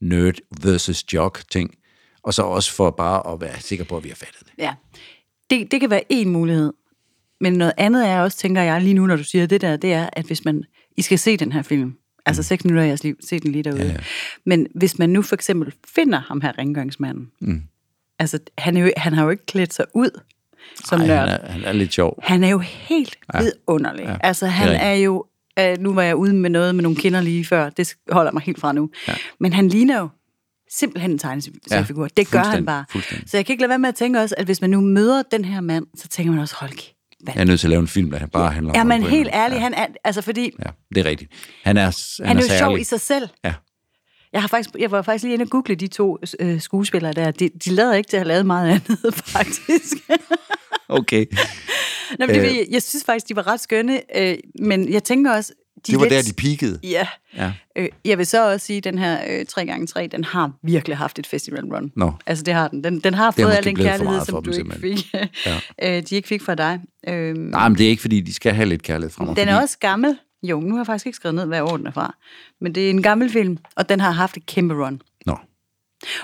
Speaker 1: nerd versus jock ting, og så også for bare at være sikker på, at vi har fattet det.
Speaker 2: Ja. Det, det kan være en mulighed. Men noget andet er også, tænker jeg lige nu, når du siger det der, det er, at hvis man... I skal se den her film. Altså seks minutter af jeres liv. Se den lige derude. Ja,
Speaker 1: Mm. ja.
Speaker 2: ja. Men hvis man nu for eksempel finder ham her rengøringsmanden. Mm. Altså, han, er jo, han har jo ikke klædt sig ud som
Speaker 1: Ej,
Speaker 2: nørd.
Speaker 1: han, er, han er lidt sjov.
Speaker 2: Han er jo helt ja. vidunderlig. Ja. Altså, han
Speaker 1: rigtigt.
Speaker 2: er jo... Øh, nu var jeg ude med noget med nogle kinder lige før. Det holder mig helt fra nu. Ja. Men han ligner jo simpelthen en tegneseriefigur.
Speaker 1: Ja,
Speaker 2: Ja. Det gør
Speaker 1: fuldstændig,
Speaker 2: han bare.
Speaker 1: fuldstændig.
Speaker 2: Så jeg kan ikke lade være med at tænke også, at hvis man nu møder den her mand, så tænker man også, hold kæft, hvad
Speaker 1: Jeg er nødt til at lave en film, der han bare handler om...
Speaker 2: er
Speaker 1: ham
Speaker 2: man
Speaker 1: på en
Speaker 2: helt
Speaker 1: eller anden-
Speaker 2: ærlig? Ja. Han er, altså, fordi
Speaker 1: Ja, det er rigtigt. Han er, han
Speaker 2: han,
Speaker 1: er,
Speaker 2: er jo sjov
Speaker 1: særlig.
Speaker 2: i sig selv.
Speaker 1: Ja.
Speaker 2: Jeg, har faktisk, jeg var faktisk lige inde og google de to øh, skuespillere der. De, de lader ikke til at have lavet meget andet, faktisk.
Speaker 1: Okay.
Speaker 2: Nå,
Speaker 1: Øh.
Speaker 2: men det, ved jeg- jeg synes faktisk, de var ret skønne, øh, men jeg tænker også... De
Speaker 1: Det var
Speaker 2: lidt-
Speaker 1: der, de peakede.
Speaker 2: Ja.
Speaker 1: Ja.
Speaker 2: Øh, jeg vil så også sige, at den her øh, 3x3, den har virkelig haft et festival run.
Speaker 1: Nå.
Speaker 2: Altså, det har den. Den, den har
Speaker 1: er
Speaker 2: fået
Speaker 1: måske
Speaker 2: al den
Speaker 1: blevet for
Speaker 2: kærlighed,
Speaker 1: meget for
Speaker 2: som du
Speaker 1: dem,
Speaker 2: ikke fik. ja. øh, de ikke fik fra dig. Øh,
Speaker 1: Nej, men det er ikke, fordi de skal have lidt kærlighed fra mig.
Speaker 2: den er
Speaker 1: fordi-
Speaker 2: også gammel. Jo, nu har jeg faktisk ikke skrevet ned, hvad år den er fra. Men det er en gammel film, og den har haft et kæmpe run.
Speaker 1: Nå,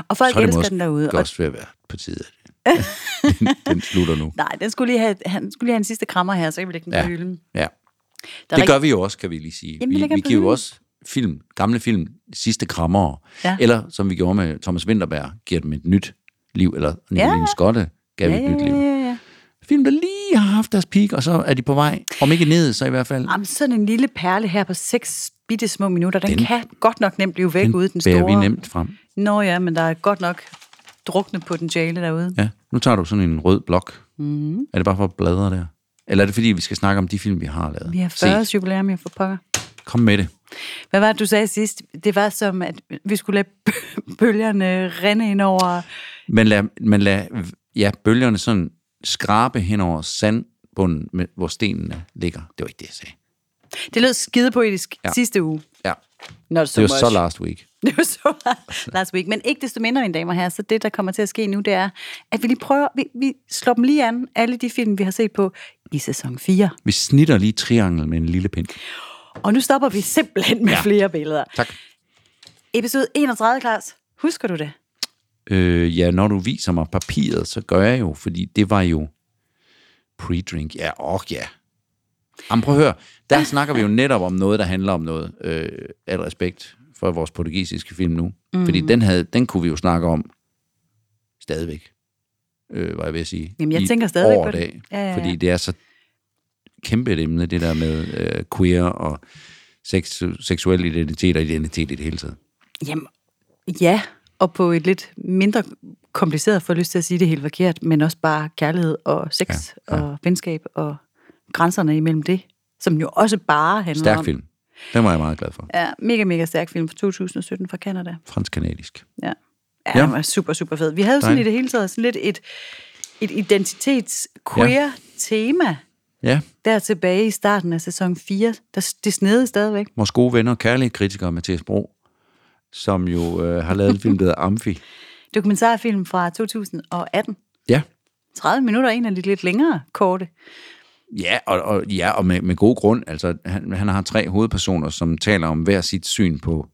Speaker 2: Og folk
Speaker 1: så er det
Speaker 2: elsker den derude.
Speaker 1: måske
Speaker 2: Og,
Speaker 1: også ved at være på tide. den, den slutter nu.
Speaker 2: nej, den skulle lige have, han skulle lige have en sidste krammer her, så kan vi lægge den
Speaker 1: Ja.
Speaker 2: på hylden.
Speaker 1: Ja.
Speaker 2: Der
Speaker 1: Det
Speaker 2: er
Speaker 1: gør vi jo også, kan vi lige sige.
Speaker 2: Jamen, vi
Speaker 1: vi
Speaker 2: lægger
Speaker 1: vi
Speaker 2: på
Speaker 1: giver jo
Speaker 2: hylden.
Speaker 1: også film, gamle film, sidste krammer.
Speaker 2: Ja.
Speaker 1: Eller, som vi gjorde med Thomas Winterberg, giver dem et nyt liv. Eller Nicoline
Speaker 2: Ja.
Speaker 1: Skotte gav ja, et
Speaker 2: ja,
Speaker 1: nyt
Speaker 2: ja,
Speaker 1: liv.
Speaker 2: ja, ja, ja.
Speaker 1: Film, der lige har haft deres peak, og så er de på vej. Om ikke ned, så i hvert fald.
Speaker 2: Jamen, sådan en lille perle her på seks bitte små minutter, den,
Speaker 1: Den-
Speaker 2: den kan godt nok nemt blive væk Ah, ude i den
Speaker 1: bærer
Speaker 2: store.
Speaker 1: vi nemt frem.
Speaker 2: Nå ja, men der er godt nok drukne potentiale derude.
Speaker 1: Ja. Nu tager du sådan en rød blok. Mm.
Speaker 2: Mhm.
Speaker 1: Er det bare for at bladre der? Eller er det fordi, vi skal snakke om de film, vi har lavet?
Speaker 2: Vi har 40 års jubilæum, jeg får pokker.
Speaker 1: Kom med det.
Speaker 2: Hvad var det, du sagde sidst? Det var som, at vi skulle lade bø- bølgerne rinde ind over...
Speaker 1: Man lader, man lader ja, bølgerne sådan skrabe hen over sandbunden, med, hvor stenene ligger. Det var ikke det, jeg sagde.
Speaker 2: Det lød skide poetisk
Speaker 1: Ja.
Speaker 2: ja. sidste uge.
Speaker 1: Ja.
Speaker 2: Not so
Speaker 1: Det var
Speaker 2: much.
Speaker 1: så last week.
Speaker 2: Det var så last week. Men ikke desto mindre, mine damer og herrer, så det, der kommer til at ske nu, det er, at vi lige prøver, vi, vi slår dem lige an, alle de film, vi har set på i sæson 4.
Speaker 1: Vi snitter lige triangel med en lille pind.
Speaker 2: Og nu stopper vi simpelthen med ja. flere billeder.
Speaker 1: Tak.
Speaker 2: Episode 31, Klaus. Husker du det?
Speaker 1: Øh, ja, når du viser mig papiret, så gør jeg jo, fordi det var jo pre-drink. Ja, og ja. Jamen, prøv at høre. Der snakker vi jo netop om noget, der handler om noget. Øh, alt respekt for vores portugisiske film nu. Mm.
Speaker 2: Mhm.
Speaker 1: Fordi den, havde, den kunne vi jo snakke om stadigvæk. Øh, var jeg ved at sige.
Speaker 2: Jamen, jeg
Speaker 1: I
Speaker 2: tænker stadigvæk
Speaker 1: år og
Speaker 2: på det.
Speaker 1: dag.
Speaker 2: Ja, ja, ja.
Speaker 1: Fordi det er så kæmpe et emne, det der med øh, queer og sex, seksuel identitet og identitet i det hele taget.
Speaker 2: Jamen, ja. Og på et lidt mindre kompliceret, for jeg lyst til at sige det helt forkert, men også bare kærlighed og sex ja, ja. og venskab og grænserne imellem det, som jo også bare handler
Speaker 1: Stærk
Speaker 2: om...
Speaker 1: film. Den var jeg meget glad for.
Speaker 2: Ja, mega, mega stærk film fra 2017 fra Canada.
Speaker 1: Fransk-kanadisk.
Speaker 2: Ja. Ja,
Speaker 1: Ja.
Speaker 2: ja. Den var super, super fed. Vi havde jo sådan
Speaker 1: Dejligt.
Speaker 2: i det hele taget sådan lidt et, et identitets-queer-tema
Speaker 1: Ja,
Speaker 2: der tilbage i starten af sæson 4. Der, s- det snede stadigvæk.
Speaker 1: vores gode venner og kærlige kritiker, Mathias Bro, som jo øh, har lavet en film, der hedder Amfi.
Speaker 2: Dokumentarfilm fra 2018.
Speaker 1: Ja,
Speaker 2: 30 minutter, en af de lidt længere korte.
Speaker 1: ja og, og, ja, og med, med god grund. Altså, han, han har tre hovedpersoner, som taler om hver sit syn på,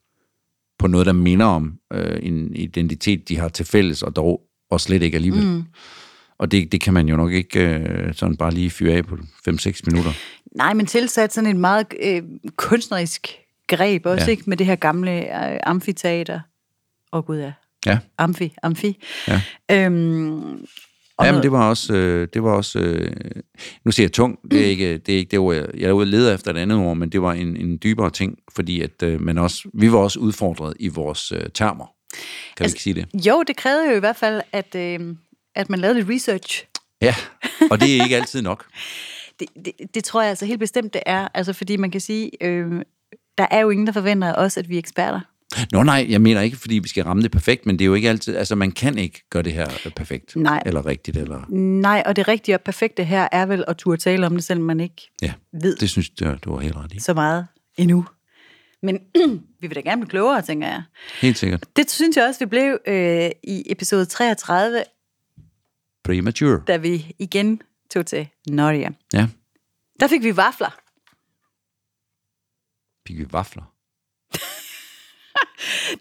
Speaker 1: på noget, der minder om øh, en identitet, de har til fælles, og dog og slet ikke alligevel. Mm. Og det, det kan man jo nok ikke øh, sådan bare lige fyre af på 5-6 minutter.
Speaker 2: Nej, men tilsat sådan et meget øh, kunstnerisk greb også,
Speaker 1: Ja.
Speaker 2: ja. ikke? Med det her gamle øh, amfiteater. Åh oh, gud, ja.
Speaker 1: Ja,
Speaker 2: Amfi, amfi. Ja. Øhm,
Speaker 1: Ja, men det var også... Øh, det var også øh, nu siger jeg tung. Det er ikke det, er ikke det ord, jeg, jeg er ude og lede efter et andet ord, men det var en, en dybere ting, fordi at, øh, man også, vi var også udfordret i vores øh, termer. Kan altså, vi ikke sige det?
Speaker 2: Jo, det krævede jo i hvert fald, at, øh, at man lavede lidt research.
Speaker 1: Ja, og det er ikke altid nok.
Speaker 2: det, det, det tror jeg altså helt bestemt, det er. Altså, fordi man kan sige, øh, der er jo ingen, der forventer af os, at vi er eksperter.
Speaker 1: Nå nej, jeg mener ikke, fordi vi skal ramme det perfekt, men det er jo ikke altid, altså man kan ikke gøre det her øh, perfekt.
Speaker 2: Nej.
Speaker 1: Eller rigtigt, eller...
Speaker 2: Nej, og det rigtige og perfekte her er vel at turde tale om det, selvom man ikke
Speaker 1: Ja,
Speaker 2: ved
Speaker 1: det synes jeg, du har helt ret i.
Speaker 2: så meget endnu. Men vi vil da gerne blive klogere, tænker jeg.
Speaker 1: Helt sikkert.
Speaker 2: Det synes jeg også, vi blev øh, i episode 33,
Speaker 1: Premature.
Speaker 2: da vi igen tog til Norge.
Speaker 1: Ja,
Speaker 2: Der fik vi vafler.
Speaker 1: fik vi vafler.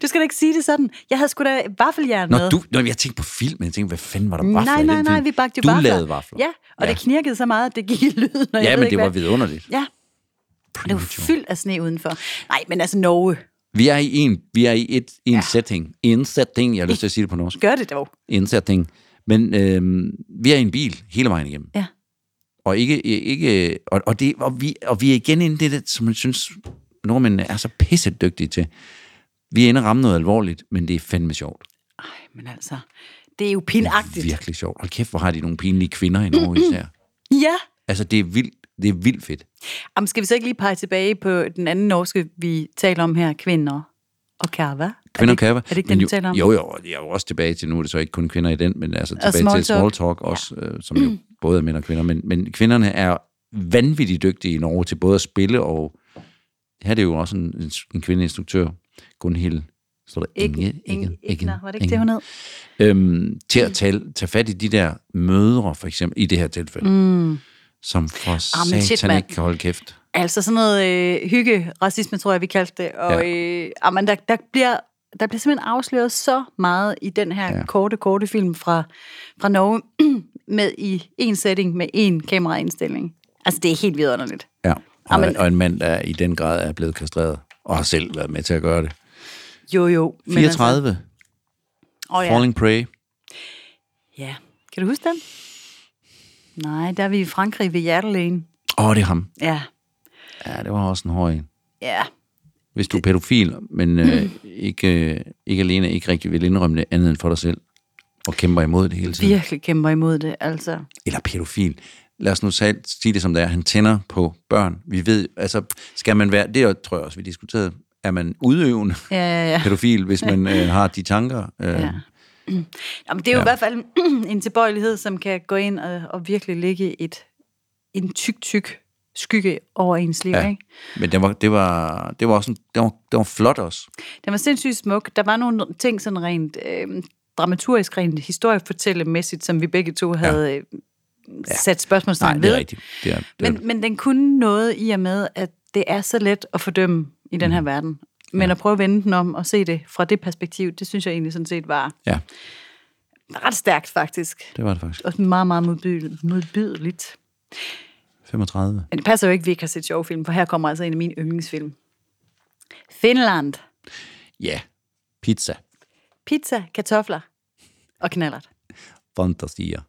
Speaker 2: Du skal da ikke sige det sådan. Jeg havde sgu da vaffeljern
Speaker 1: Nå,
Speaker 2: med.
Speaker 1: du, nå, jeg tænkte på film, jeg tænkte, hvad fanden var der vafler
Speaker 2: nej,
Speaker 1: i
Speaker 2: nej,
Speaker 1: den
Speaker 2: nej,
Speaker 1: film?
Speaker 2: vi bagte jo
Speaker 1: du
Speaker 2: vafler.
Speaker 1: lavede vafler.
Speaker 2: Ja, og ja. det knirkede så meget, at det gik i lyden. og jeg
Speaker 1: ja
Speaker 2: ved
Speaker 1: men
Speaker 2: ikke
Speaker 1: det var
Speaker 2: hvad.
Speaker 1: vidunderligt.
Speaker 2: Ja, og det var fyldt af sne udenfor. Nej, men altså Norge.
Speaker 1: Vi er i en, vi er i et, i en ja. setting. I en setting, jeg har lyst til at sige det på norsk.
Speaker 2: Gør det dog.
Speaker 1: I en setting. Men øh, vi er i en bil hele vejen igennem.
Speaker 2: Ja.
Speaker 1: Og, ikke, ikke, og, og, det, og, vi, og vi er igen inde i det, der, som jeg synes, nordmændene er så pisset dygtige til. Vi er inde og ramme noget alvorligt, men det er fandme sjovt.
Speaker 2: Ej, men altså, det er jo pinagtigt.
Speaker 1: Virkelig sjovt. Hold kæft, hvor har de nogle pinlige kvinder i Norge især.
Speaker 2: Ja.
Speaker 1: Altså, det er vildt, det er vildt fedt.
Speaker 2: Jamen, skal vi så ikke lige pege tilbage på den anden norske, vi taler om her, kvinder og kava?
Speaker 1: Kvinder
Speaker 2: er det,
Speaker 1: kava.
Speaker 2: Er det ikke den, vi taler om?
Speaker 1: Jo, jo, og jeg er jo også tilbage til, nu er det så ikke kun kvinder i den, men altså tilbage
Speaker 2: small
Speaker 1: til small
Speaker 2: talk.
Speaker 1: talk også, øh, som jo både er mænd og kvinder, men, men kvinderne er vanvittigt dygtige i Norge til både at spille og... Her er det jo også en, en, en kvindeinstruktør, Gunhild, står der
Speaker 2: Ikke,
Speaker 1: Inge,
Speaker 2: ikke, ikke, var det ikke det,
Speaker 1: Inge.
Speaker 2: hun hed?
Speaker 1: øhm, til at tale, tage fat i de der mødre, for eksempel, i det her tilfælde, mm. som for
Speaker 2: Ah, men shit,
Speaker 1: satan
Speaker 2: mand.
Speaker 1: ikke kan holde kæft.
Speaker 2: Altså sådan noget øh, hygge, racisme, tror jeg, vi kaldte det. Og ja. øh, men der, der, bliver, der bliver simpelthen afsløret så meget i den her ja. korte, korte film fra, fra Norge, med i en setting, med en kameraindstilling. Altså, det er helt vidunderligt.
Speaker 1: Ja. Og,
Speaker 2: Jamen.
Speaker 1: og en mand, der i den grad er blevet kastreret, og har selv været med til at gøre det.
Speaker 2: Jo, jo. men
Speaker 1: 34, altså,
Speaker 2: Altså, oh,
Speaker 1: ja.
Speaker 2: ja.
Speaker 1: Falling Prey.
Speaker 2: ja. Kan du huske den? Nej, der er vi i Frankrig ved Hjertelægen.
Speaker 1: Åh, oh, det er ham.
Speaker 2: Ja,
Speaker 1: Ja, det var også en høj en.
Speaker 2: ja.
Speaker 1: Hvis du er pædofil, men øh, ikke, øh, ikke alene ikke rigtig vil indrømme det andet end for dig selv, og kæmper imod det hele tiden.
Speaker 2: Virkelig kæmper imod det, altså.
Speaker 1: Eller pædofil. Lad os nu sal- sige det som det er. Han tænder på børn. Vi ved, altså, skal man være, det er- tror jeg også, vi diskuterede, er man udøvende
Speaker 2: Ja, ja, ja.
Speaker 1: pædofil, hvis man øh, har de tanker? Øh, ja.
Speaker 2: Jamen, det er jo ja. i hvert fald en tilbøjelighed, som kan gå ind og, og virkelig ligge et, en tyk, tyk skygge over ens liv. Ja. Ikke?
Speaker 1: Men det var, det var, det var også en, det var, det var flot også.
Speaker 2: Den var sindssygt smuk. Der var nogle ting sådan rent øh, dramaturgisk, rent historiefortællemæssigt, som vi begge to havde ja. sat
Speaker 1: Nej,
Speaker 2: spørgsmålstegn ved.
Speaker 1: det er rigtigt. Det er, det er,
Speaker 2: Men, men den kunne noget i og med, at det er så let at fordømme i
Speaker 1: Mm.
Speaker 2: den her verden. Men at prøve at vende den om og se det fra det perspektiv, det synes jeg egentlig sådan set var
Speaker 1: ja,
Speaker 2: ret stærkt faktisk.
Speaker 1: det var det faktisk.
Speaker 2: Og sådan meget, meget modbydel- modbydeligt.
Speaker 1: 35.
Speaker 2: Men det passer jo ikke, at vi ikke har set sjove film, for her kommer altså en af mine yndlingsfilm. Finland.
Speaker 1: Ja, pizza.
Speaker 2: Pizza, kartofler og knallert.
Speaker 1: Fantastier.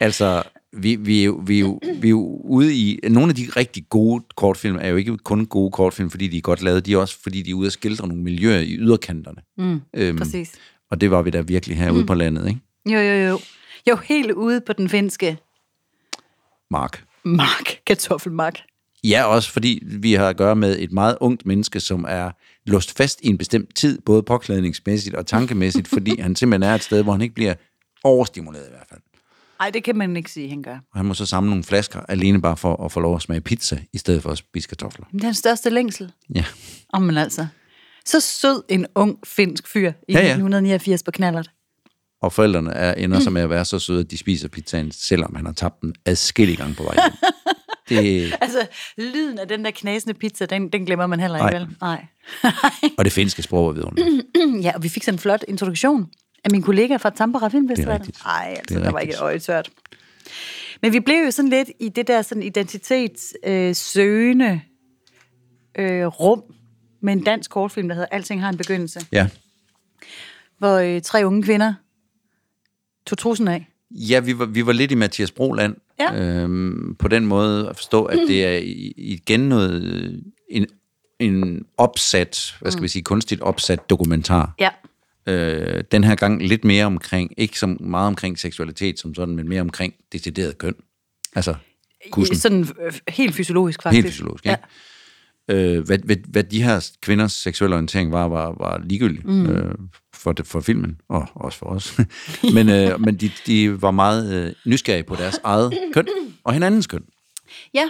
Speaker 1: altså, vi, vi, er jo, vi, er jo, vi er jo ude i... Nogle af de rigtig gode kortfilm er jo ikke kun gode kortfilm, fordi de er godt lavet. De er også, fordi de er ude at skildre nogle miljøer i yderkanterne. Mm, øhm,
Speaker 2: Præcis.
Speaker 1: Og det var vi da virkelig herude mm. på landet, ikke?
Speaker 2: Jo, jo, jo. Jo, helt ude på den finske
Speaker 1: Mark.
Speaker 2: mark. Kartoffelmark.
Speaker 1: Ja, også fordi vi har at gøre med et meget ungt menneske, som er låst fast i en bestemt tid, både påklædningsmæssigt og tankemæssigt, fordi han simpelthen er et sted, hvor han ikke bliver overstimuleret i hvert fald.
Speaker 2: Nej, det kan man ikke sige, han gør.
Speaker 1: Og han må så samle nogle flasker alene bare for at få lov at smage pizza, i stedet for at spise kartofler.
Speaker 2: Men det er den største længsel.
Speaker 1: Ja.
Speaker 2: Om man altså. Så sød en ung finsk fyr i
Speaker 1: Ja,
Speaker 2: ja, ja.
Speaker 1: ja.
Speaker 2: 1989 på knallert.
Speaker 1: Og forældrene er, ender så med at være så søde, at de spiser pizzaen, selvom han har tabt den adskillige gange på vej. hjem. det,
Speaker 2: Altså, lyden af den der knasende pizza, den, den glemmer man heller ikke,
Speaker 1: Nej.
Speaker 2: vel? Nej.
Speaker 1: og det finske sprog er vidunderligt.
Speaker 2: Ja, og vi fik sådan en flot introduktion af min kollega fra Tampere
Speaker 1: Det er
Speaker 2: Filmfestival.
Speaker 1: rigtigt.
Speaker 2: Nej, altså,
Speaker 1: Det er
Speaker 2: der var ikke
Speaker 1: rigtigt.
Speaker 2: et øje tørt. Men vi blev jo sådan lidt i det der sådan identitetssøgende øh, søgende, øh, rum med en dansk kortfilm, der hedder Alting har en begyndelse,
Speaker 1: Ja.
Speaker 2: hvor øh, tre unge kvinder tog trussen af
Speaker 1: Ja, vi var, vi var lidt i Mathias Broland.
Speaker 2: Ja.
Speaker 1: Øhm, på den måde at forstå, at det er i- igen noget, øh, en, en opsat, hvad skal vi sige, kunstigt opsat dokumentar.
Speaker 2: Ja.
Speaker 1: Øh, den her gang lidt mere omkring, ikke så meget omkring seksualitet som sådan, men mere omkring decideret køn. Altså, kussen.
Speaker 2: Sådan øh, helt fysiologisk, faktisk.
Speaker 1: Helt fysiologisk, ikke? Ja. Øh, hvad, hvad, hvad de her kvinders seksuelle orientering var, var, var ligegyldigt mm. øh, for, det- for filmen, og også for os. men øh, men de, de var meget øh, nysgerrige på deres eget køn, og hinandens køn.
Speaker 2: Ja. ja.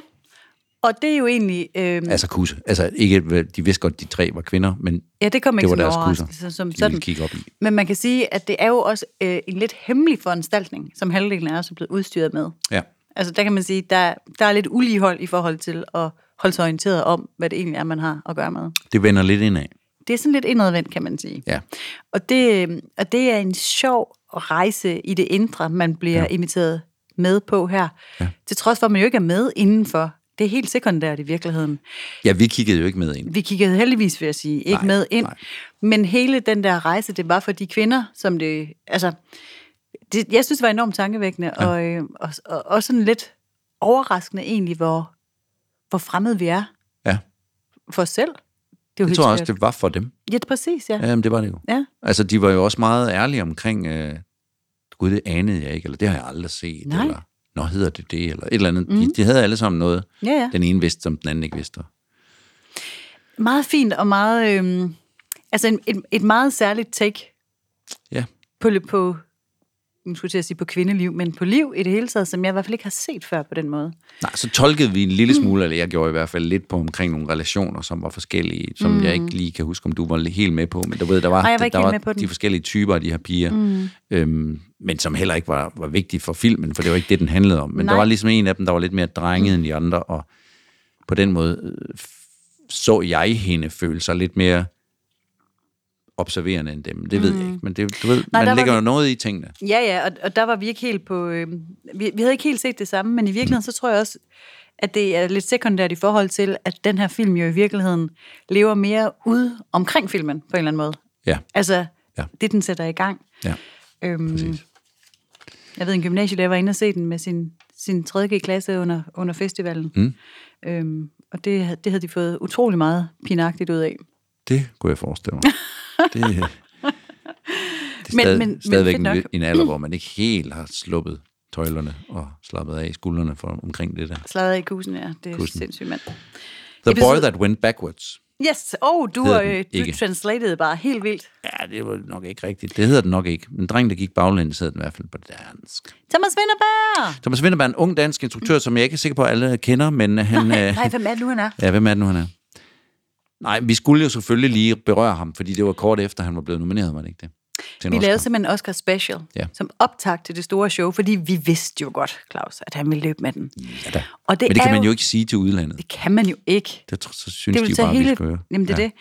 Speaker 2: Og det er jo egentlig... Øh,
Speaker 1: Altså kusse. Altså ikke, hvad- de vidste godt, de tre var kvinder, men
Speaker 2: ja, det kom
Speaker 1: det
Speaker 2: ikke
Speaker 1: var
Speaker 2: som en
Speaker 1: deres kusser,
Speaker 2: overraskelse som
Speaker 1: de ville
Speaker 2: sådan.
Speaker 1: kigge op i.
Speaker 2: Men man kan sige, at det er jo også øh, en lidt hemmelig foranstaltning, som halvdelen af os er blevet udstyret med.
Speaker 1: Ja.
Speaker 2: Altså der kan man sige, der, der er lidt uligehold i forhold til at holde sig orienteret om, hvad det egentlig er, man har at gøre med.
Speaker 1: Det vender lidt indad.
Speaker 2: Det er sådan lidt indadvendt, kan man sige.
Speaker 1: Ja.
Speaker 2: Og det, øh, og det er en sjov rejse i det indre, man bliver ja. inviteret med på her. Ja. Til trods for, at man jo ikke er med indenfor. Det er helt sekundært i virkeligheden.
Speaker 1: Ja, vi kiggede jo ikke med ind.
Speaker 2: Vi kiggede heldigvis, vil jeg sige, ikke
Speaker 1: Nej,
Speaker 2: nej, med ind.
Speaker 1: nej.
Speaker 2: Nej. Men hele den der rejse, det var for de kvinder, som det... Altså, det, jeg synes, det var enormt tankevækkende, ja. og, øh, og, og også sådan lidt overraskende egentlig, hvor, hvor fremmed vi er
Speaker 1: Ja,
Speaker 2: for os selv. Det er jo
Speaker 1: jeg
Speaker 2: helt
Speaker 1: tror også,
Speaker 2: skørt.
Speaker 1: det var for dem.
Speaker 2: Ja, præcis, ja. ja.
Speaker 1: Ja, jamen, det var det jo.
Speaker 2: ja.
Speaker 1: Altså, de var jo også meget ærlige omkring, øh, gud, det anede jeg ikke, eller det har jeg aldrig set,
Speaker 2: Nej.
Speaker 1: eller nå, hedder det det, eller et eller andet. Mm. De, de havde alle sammen noget,
Speaker 2: Ja, ja.
Speaker 1: den ene vidste, som den anden ikke vidste.
Speaker 2: Meget fint og meget... Øh, altså en, et, et meget særligt take
Speaker 1: Ja,
Speaker 2: på, på nu skulle jeg til at sige på kvindeliv, men på liv i det hele taget, som jeg i hvert fald ikke har set før på den måde.
Speaker 1: Nej, så tolkede vi en lille
Speaker 2: Mm.
Speaker 1: smule, eller jeg gjorde i hvert fald lidt på omkring nogle relationer, som var forskellige, som mm. jeg ikke lige kan huske, om du var helt med på, men du ved, der var,
Speaker 2: Ej, jeg var ikke
Speaker 1: der
Speaker 2: helt
Speaker 1: var
Speaker 2: med på den.
Speaker 1: de forskellige typer af de her piger, mm. øhm, men som heller ikke var, var vigtige for filmen, for det var ikke det, den handlede om. Men Nej.
Speaker 2: Nej.
Speaker 1: der var ligesom en af dem, der var lidt mere drenget mm. end de andre, og på den måde øh, f- så jeg hende føle sig lidt mere observerende end dem. Det ved mm. jeg ikke, men det, du ved,
Speaker 2: der
Speaker 1: man
Speaker 2: var
Speaker 1: lægger
Speaker 2: vi-
Speaker 1: jo noget i tingene.
Speaker 2: Ja, ja, og, og der var vi ikke helt på... Øh, vi, vi havde ikke helt set det samme, men i virkeligheden så tror jeg også, at det er lidt sekundært i forhold til, at den her film jo i virkeligheden lever mere ude omkring filmen på en eller anden måde.
Speaker 1: Ja,
Speaker 2: Altså,
Speaker 1: Ja.
Speaker 2: ja. det den sætter i gang.
Speaker 1: ja,
Speaker 2: Øhm,
Speaker 1: præcis.
Speaker 2: jeg ved, en gymnasielærer var inde og se den med sin, sin 3. klasse under, under festivalen. Mm. Øhm, og det, havde- det havde de fået utrolig meget pinagtigt ud af.
Speaker 1: Det kunne jeg forestille mig. det, det er
Speaker 2: Men-
Speaker 1: stadig, men,
Speaker 2: men- men
Speaker 1: stadigvæk
Speaker 2: fedt
Speaker 1: men
Speaker 2: nok.
Speaker 1: en, en alder, hvor man ikke helt har sluppet tøjlerne og slappet af i skuldrene for, omkring det der.
Speaker 2: Slaget i kusen, ja. Det er
Speaker 1: Kusen.
Speaker 2: sindssygt, mand.
Speaker 1: The Boy
Speaker 2: Episode-
Speaker 1: That Went Backwards.
Speaker 2: Yes, oh, du,
Speaker 1: Hedder den
Speaker 2: øh,
Speaker 1: ikke.
Speaker 2: du translatede bare helt vildt.
Speaker 1: Ja, det var nok ikke rigtigt. Det hedder den nok ikke. Men drengen, der gik baglæns, hed den i hvert fald på dansk.
Speaker 2: Thomas Vinterberg!
Speaker 1: Thomas Vinterberg er en ung dansk instruktør, som jeg ikke er sikker på, at alle kender, men han... øh,
Speaker 2: Nej, hvem er det nu, han er?
Speaker 1: Ja, hvem er det nu, han er? Nej, vi skulle jo selvfølgelig lige berøre ham, fordi det var kort efter, han var blevet nomineret, var det ikke det? Til en
Speaker 2: Vi
Speaker 1: Oscar.
Speaker 2: lavede simpelthen en Oscar Special,
Speaker 1: Ja.
Speaker 2: som optag til det store show, fordi vi vidste jo godt, Claus, at han ville løbe med den.
Speaker 1: Ja, da.
Speaker 2: Og det,
Speaker 1: Men det
Speaker 2: er
Speaker 1: kan man jo ikke sige til udlandet.
Speaker 2: Det kan man jo ikke.
Speaker 1: Det, tr- så synes
Speaker 2: Det
Speaker 1: de
Speaker 2: vil
Speaker 1: jo
Speaker 2: tage
Speaker 1: bare, hele... vi
Speaker 2: hele...
Speaker 1: skal høre.
Speaker 2: Jamen, det er ja. det.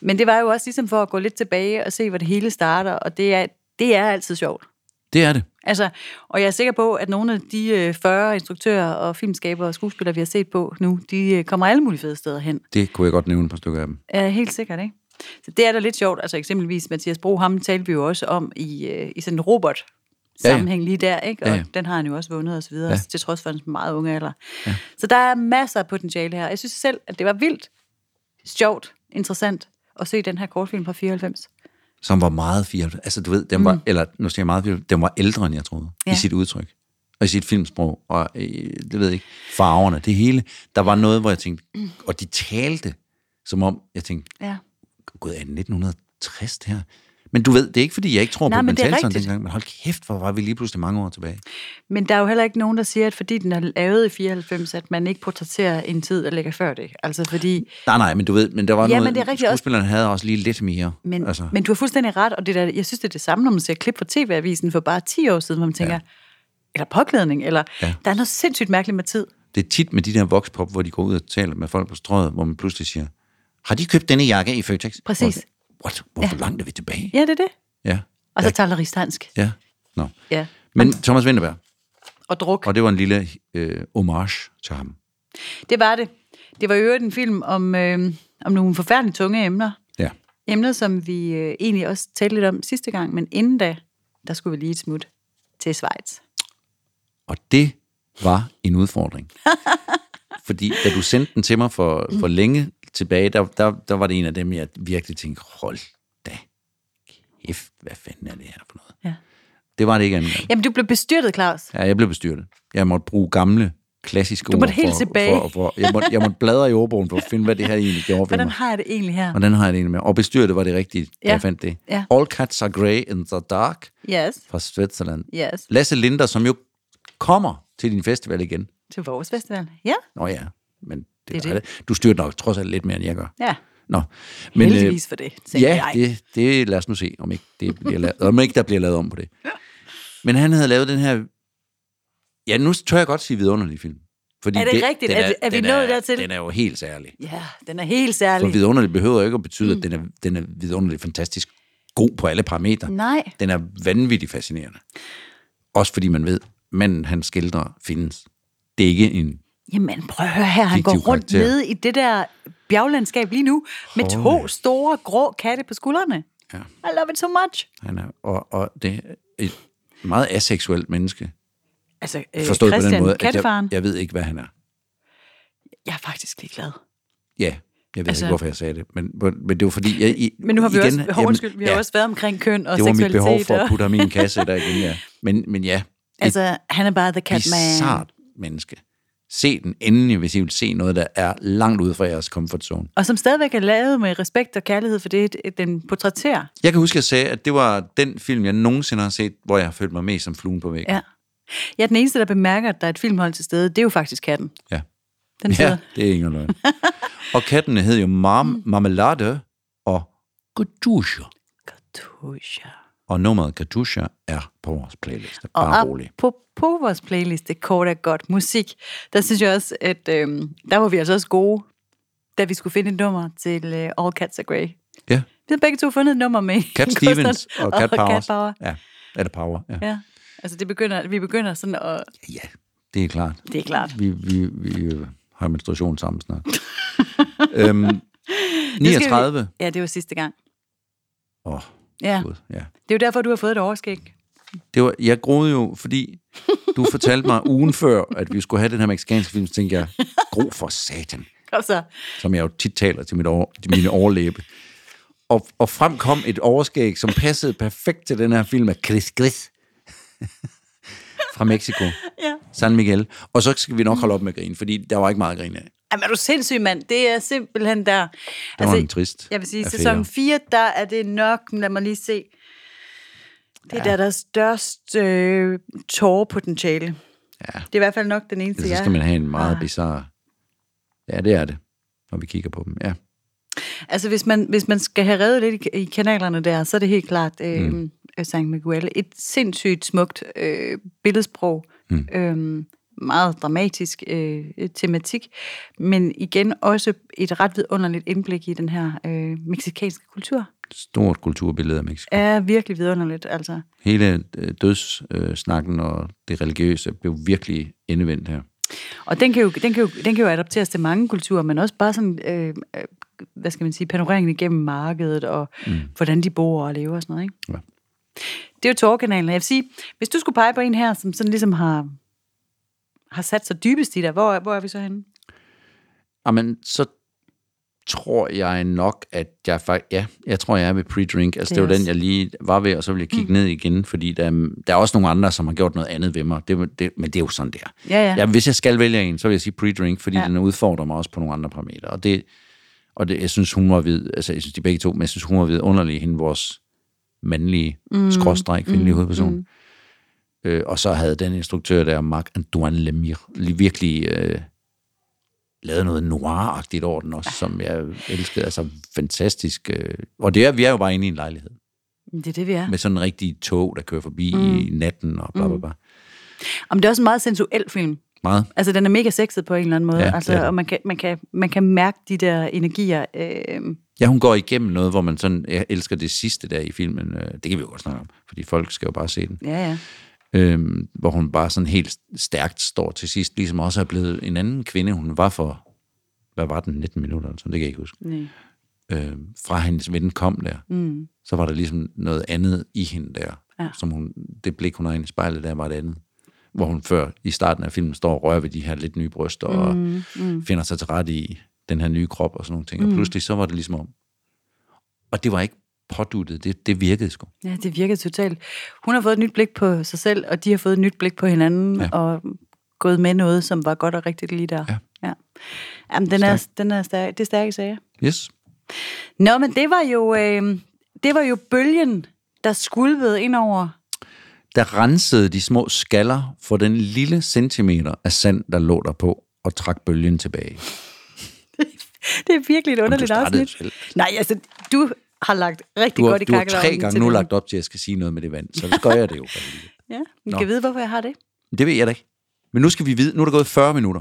Speaker 2: Men det var jo også ligesom for at gå lidt tilbage og se, hvor det hele starter, og det er, det er altid sjovt.
Speaker 1: Det er det.
Speaker 2: Altså, og jeg er sikker på, at nogle af de øh, 40 instruktører og filmskabere og skuespillere, vi har set på nu, de øh, kommer alle mulige fede steder hen.
Speaker 1: Det kunne jeg godt nævne et par stykker af dem.
Speaker 2: Ja, helt sikkert, ikke? Så det er da lidt sjovt. Altså eksempelvis Mathias Bro, ham talte vi jo også om i, øh, i sådan en robot sammenhæng lige der, ikke? Og
Speaker 1: Ja,
Speaker 2: ja,
Speaker 1: ja.
Speaker 2: ja. den har han jo også vundet og så videre,
Speaker 1: Ja.
Speaker 2: ja. til trods for hans meget unge alder. Ja. Så der er masser af potentiale her. Jeg synes selv, at det var vildt sjovt, interessant at se den her kortfilm fra 94.
Speaker 1: Som var meget 94. Altså, du ved, den var, mm. eller nu siger jeg meget 94, den var ældre, end jeg troede, ja.
Speaker 2: Ja.
Speaker 1: i sit udtryk. Og i sit filmsprog, og øh, det ved jeg ikke, farverne, det hele. Der var noget, hvor jeg tænkte,
Speaker 2: Mm.
Speaker 1: og de talte, som om, jeg tænkte,
Speaker 2: Ja.
Speaker 1: gud, er det 1960 det her? Men du ved, det er ikke, fordi jeg ikke tror
Speaker 2: Nej,
Speaker 1: på, at man
Speaker 2: men det er
Speaker 1: talte sådan
Speaker 2: rigtigt.
Speaker 1: dengang, men hold kæft, hvor var vi lige pludselig mange år tilbage.
Speaker 2: Men der er jo heller ikke nogen, der siger, at fordi den er lavet i 94, at man ikke portrætterer en tid, der ligger før det. Altså fordi...
Speaker 1: Nej, nej, men du ved, men der var
Speaker 2: Ja,
Speaker 1: noget,
Speaker 2: men det er rigtigt også-
Speaker 1: skuespillerne havde også lige lidt mere.
Speaker 2: Men, altså. men du har fuldstændig ret, og det der, jeg synes, det er det samme, når man ser klip fra TV-avisen for bare 10 år siden, hvor man tænker, ja. eller påklædning, eller
Speaker 1: Ja.
Speaker 2: ja. der er noget sindssygt mærkeligt med tid.
Speaker 1: Det er tit med de der vokspop, hvor de går ud og taler med folk på strøget, hvor man pludselig siger, har de købt denne jakke i Føtex?
Speaker 2: Præcis.
Speaker 1: Hvor, what? Hvorfor ja. langt er vi tilbage?
Speaker 2: Ja, det er det.
Speaker 1: Ja.
Speaker 2: Og så taler rigsdansk.
Speaker 1: Ja. Nå.
Speaker 2: Ja.
Speaker 1: Men Thomas Vinterberg,
Speaker 2: Og druk.
Speaker 1: og det var en lille øh, homage til ham.
Speaker 2: Det var det. Det var jo en film om, øh, om nogle forfærdeligt tunge emner.
Speaker 1: Ja.
Speaker 2: Emner, som vi øh, egentlig også talte lidt om sidste gang, men inden da, der skulle vi lige et smut til Schweiz.
Speaker 1: Og det var en udfordring. Fordi da du sendte den til mig for,
Speaker 2: Mm.
Speaker 1: for længe tilbage, der, der, der var det en af dem, jeg virkelig tænkte, hold da kæft, hvad fanden er det her for noget?
Speaker 2: Ja.
Speaker 1: Det var det ikke andet.
Speaker 2: Jamen, du blev bestyrtet, Claus.
Speaker 1: Ja, jeg blev bestyrtet. Jeg måtte bruge gamle, klassiske
Speaker 2: Du måtte
Speaker 1: ord.
Speaker 2: helt
Speaker 1: for,
Speaker 2: tilbage.
Speaker 1: For, for, jeg, måtte, jeg måtte bladre i ordbogen for at finde, hvad det her egentlig gjorde for
Speaker 2: Hvordan
Speaker 1: mig.
Speaker 2: har jeg det egentlig her?
Speaker 1: Hvordan har jeg det egentlig med? Og bestyrtet var det rigtigt, da
Speaker 2: Ja.
Speaker 1: jeg fandt det.
Speaker 2: Ja.
Speaker 1: All Cats Are Grey in the Dark
Speaker 2: Yes,
Speaker 1: fra Switzerland.
Speaker 2: yes.
Speaker 1: Lasse Linder, som jo kommer til din festival igen.
Speaker 2: Til vores festival. Ja,
Speaker 1: Nå ja, men det,
Speaker 2: Det
Speaker 1: det,
Speaker 2: er
Speaker 1: det. du styrer nok trods alt lidt mere, end jeg gør.
Speaker 2: ja.
Speaker 1: Nå,
Speaker 2: Men,
Speaker 1: men,
Speaker 2: Heldigvis for det,
Speaker 1: øh,
Speaker 2: tænker
Speaker 1: ja,
Speaker 2: jeg.
Speaker 1: det, det, lad os nu se, om ikke, det bliver lavet, om ikke der bliver lavet om på det. Men han havde lavet den her, ja, nu tør jeg godt sige vidunderlig film. Fordi
Speaker 2: Er det
Speaker 1: den
Speaker 2: rigtigt? Er vi- er vi
Speaker 1: den
Speaker 2: nået dertil?
Speaker 1: Den er jo helt særlig.
Speaker 2: Ja, den er helt
Speaker 1: For
Speaker 2: særlig.
Speaker 1: vidunderlig behøver jo ikke at betyde,
Speaker 2: Mm.
Speaker 1: at den er, den er vidunderlig fantastisk god på alle parametre.
Speaker 2: Nej.
Speaker 1: Den er vanvittigt fascinerende. Også fordi man ved, manden han skildrer findes. Det er ikke en
Speaker 2: Jamen, prøv at høre her. Han går
Speaker 1: Fiktiv
Speaker 2: rundt
Speaker 1: karakter.
Speaker 2: nede i det der bjerglandskab lige nu med to store grå katte på skuldrene.
Speaker 1: Ja.
Speaker 2: I love it so much.
Speaker 1: Han er, og, og det er et meget aseksuelt menneske.
Speaker 2: Altså, øh,
Speaker 1: Forstået
Speaker 2: Christian,
Speaker 1: på den måde,
Speaker 2: kattefaren.
Speaker 1: jeg, jeg ved ikke, hvad han er.
Speaker 2: Jeg er faktisk ligeglad.
Speaker 1: Ja, jeg ved
Speaker 2: Altså-
Speaker 1: altså, ikke, hvorfor jeg sagde det. Men, men det var fordi... Jeg, i,
Speaker 2: Men nu har vi,
Speaker 1: igen,
Speaker 2: igen, også, hov,
Speaker 1: jamen,
Speaker 2: undskyld, vi har
Speaker 1: ja,
Speaker 2: også været omkring køn og
Speaker 1: Det var mit
Speaker 2: seksualitet.
Speaker 1: behov for at
Speaker 2: og-
Speaker 1: putte ham i en kasse der igen, ja. Men, men ja, et
Speaker 2: Altså, han er bare the cat man.
Speaker 1: bizart menneske. Se den endelig, hvis I vil se noget, der er langt ude fra jeres comfort zone.
Speaker 2: Og som stadigvæk er lavet med respekt og kærlighed for det, det- den portrætterer.
Speaker 1: Jeg kan huske, at jeg sagde, at det var den film, jeg nogensinde har set, hvor jeg har følt mig mest som fluen på væggen.
Speaker 2: Ja. Jeg er den eneste, der bemærker, at der er et filmhold til stede. Det er jo faktisk katten.
Speaker 1: ja.
Speaker 2: Den sidder. Mm.
Speaker 1: Ja, det er ingen løgn. og kattene hed jo Marm, Marmelade og Katusha.
Speaker 2: Katusha.
Speaker 1: Og nummeret Katusha er på vores playlist.
Speaker 2: Og
Speaker 1: Bare
Speaker 2: op
Speaker 1: rolig.
Speaker 2: på, på vores playliste, kort og godt musik, der synes jeg også, at øh, der var vi altså også gode, da vi skulle finde et nummer til øh, All Cats Are Grey.
Speaker 1: Ja.
Speaker 2: Vi havde begge to fundet et nummer med.
Speaker 1: Cat
Speaker 2: en
Speaker 1: Stevens
Speaker 2: kunstner
Speaker 1: og Cat Powers.
Speaker 2: Cat Power.
Speaker 1: Ja, eller Power. Ja.
Speaker 2: Ja. Altså, det begynder, vi begynder sådan at...
Speaker 1: ja, det er klart.
Speaker 2: Det er klart.
Speaker 1: Vi, vi, vi øh, har menstruation sammen snart. øhm, 39.
Speaker 2: Ja, det var sidste gang.
Speaker 1: Åh, oh,
Speaker 2: Ja.
Speaker 1: gud, ja.
Speaker 2: Det er jo derfor, du har fået et overskæg.
Speaker 1: Det var, jeg groede jo, fordi du fortalte mig ugen før, at vi skulle have den her mexikanske film, så tænkte jeg, gro for satan.
Speaker 2: Og så,
Speaker 1: som jeg jo tit taler til, mit over, til mine overlæbe. Og, og frem kom et overskæg, som passede perfekt til den her film af Chris Chris fra Mexico,
Speaker 2: ja.
Speaker 1: San Miguel. Og så skal vi nok holde op med at grine, fordi der var ikke meget at grine af.
Speaker 2: Jamen, er du sindssyg, mand? Det er simpelthen der. Altså,
Speaker 1: Der var en trist
Speaker 2: Jeg vil sige,
Speaker 1: affære.
Speaker 2: sæson 4, der er det nok, lad mig lige se. Det er ja. der, der er størst øh, tårerpotentiale.
Speaker 1: Ja.
Speaker 2: Det er i hvert fald nok den eneste,
Speaker 1: Så
Speaker 2: jeg
Speaker 1: skal man have en meget
Speaker 2: har.
Speaker 1: bizarre... Ja, det er det, når vi kigger på dem. Ja.
Speaker 2: Altså, hvis man, hvis man skal have reddet lidt i, i kanalerne der, så er det helt klart øh, mm. San Miguel. Et sindssygt smukt øh, billedsprog. Mm. Øh, meget dramatisk øh, tematik. Men igen også et ret vidunderligt indblik i den her øh, meksikanske kultur.
Speaker 1: Stort kulturbillede af Mexico.
Speaker 2: Er virkelig vidunderligt, altså.
Speaker 1: Hele øh, dødssnakken og det religiøse blev virkelig endevendt her.
Speaker 2: Og den kan, jo, den, kan jo, den kan jo adapteres til mange kulturer, men også bare sådan, øh, øh, hvad skal man sige, panoreringen igennem markedet, og mm. hvordan de bor og lever og sådan noget, ikke?
Speaker 1: Ja.
Speaker 2: Det er jo tårerkanalen. Jeg vil sige, hvis du skulle pege på en her, som sådan ligesom har, har sat sig dybest i dig, hvor, er- hvor er vi så henne?
Speaker 1: Jamen, Ah, så tror jeg nok, at jeg faktisk... Ja, jeg tror, jeg er ved pre-drink. Altså,
Speaker 2: Det
Speaker 1: det, var
Speaker 2: også.
Speaker 1: den, jeg lige var ved, og så vil jeg kigge mm. ned igen, fordi der, er- der er også nogle andre, som har gjort noget andet ved mig. Det, var- det, men det er jo sådan, der.
Speaker 2: Ja, ja.
Speaker 1: Ja, hvis jeg skal vælge en, så vil jeg sige pre-drink, fordi
Speaker 2: Ja.
Speaker 1: ja. den udfordrer mig også på nogle andre parametre. Og det, og det, jeg synes, hun var ved, altså jeg synes, de begge to, men jeg synes, hun var ved underlig, hende vores mandlige, mm. skråstreg, kvindelige mm. hovedperson. Mm. Øh, og så havde den instruktør der, Marc-Antoine Lemire, lige virkelig øh, lavet noget noir-agtigt over den også, som jeg elskede. Altså fantastisk. Øh. Og det er, vi er jo bare inde i en lejlighed,
Speaker 2: Det er det, vi er.
Speaker 1: med sådan en rigtig tog, der kører forbi mm. i natten og bla bla bla.
Speaker 2: Om det er også en meget sensuel film.
Speaker 1: Meget.
Speaker 2: Altså, den er mega sexet på en eller anden måde,
Speaker 1: Ja, det
Speaker 2: altså,
Speaker 1: er den.
Speaker 2: og man kan, man, kan, man kan mærke de der energier. Øh,
Speaker 1: Ja, hun går igennem noget, hvor man sådan, jeg elsker det sidste der i filmen, øh, det kan vi jo godt snakke om, fordi folk skal jo bare se den,
Speaker 2: ja, ja.
Speaker 1: øh, hvor hun bare sådan helt stærkt står til sidst, ligesom også er blevet en anden kvinde, hun var for, hvad var den, 19 minutter, eller sådan, det kan jeg ikke huske,
Speaker 2: Nej.
Speaker 1: øh, fra hendes ven kom der, mm. så var der ligesom noget andet i hende der,
Speaker 2: Ja.
Speaker 1: som hun, det blik, hun har inde i spejlet der, var det andet. hvor hun før i starten af filmen står og rører ved de her lidt nye bryster, og mm. finder sig til rette i den her nye krop og sådan nogle ting. Mm. Og pludselig så var det ligesom om. Og det var ikke påduttet, det, det virkede sgu.
Speaker 2: Ja, det virker totalt. Hun har fået et nyt blik på sig selv, og de har fået et nyt blik på hinanden, ja. og gået med noget, som var godt og rigtigt lige der.
Speaker 1: Ja.
Speaker 2: ja. Jamen, den er, den er stærk, det er stærke sager.
Speaker 1: Yes.
Speaker 2: Nå, men det var jo, øh, det var jo bølgen, der skulvede ind over
Speaker 1: Der rensede de små skaller for den lille centimeter af sand, der lå der på, og trak bølgen tilbage.
Speaker 2: Det er virkelig et underligt
Speaker 1: startede
Speaker 2: afsnit.
Speaker 1: selv.
Speaker 2: Nej, altså, du har lagt rigtig
Speaker 1: Du har,
Speaker 2: godt i
Speaker 1: du har
Speaker 2: kakkelovnen.
Speaker 1: tre gange
Speaker 2: til
Speaker 1: nu
Speaker 2: den.
Speaker 1: lagt op til, at jeg skal sige noget med det vand, så gør jeg det jo. for helvede.
Speaker 2: Ja, vi
Speaker 1: Nå.
Speaker 2: kan vide, hvorfor jeg har det.
Speaker 1: Men Det ved jeg da ikke. Men nu skal vi vide, nu er der gået 40 minutter.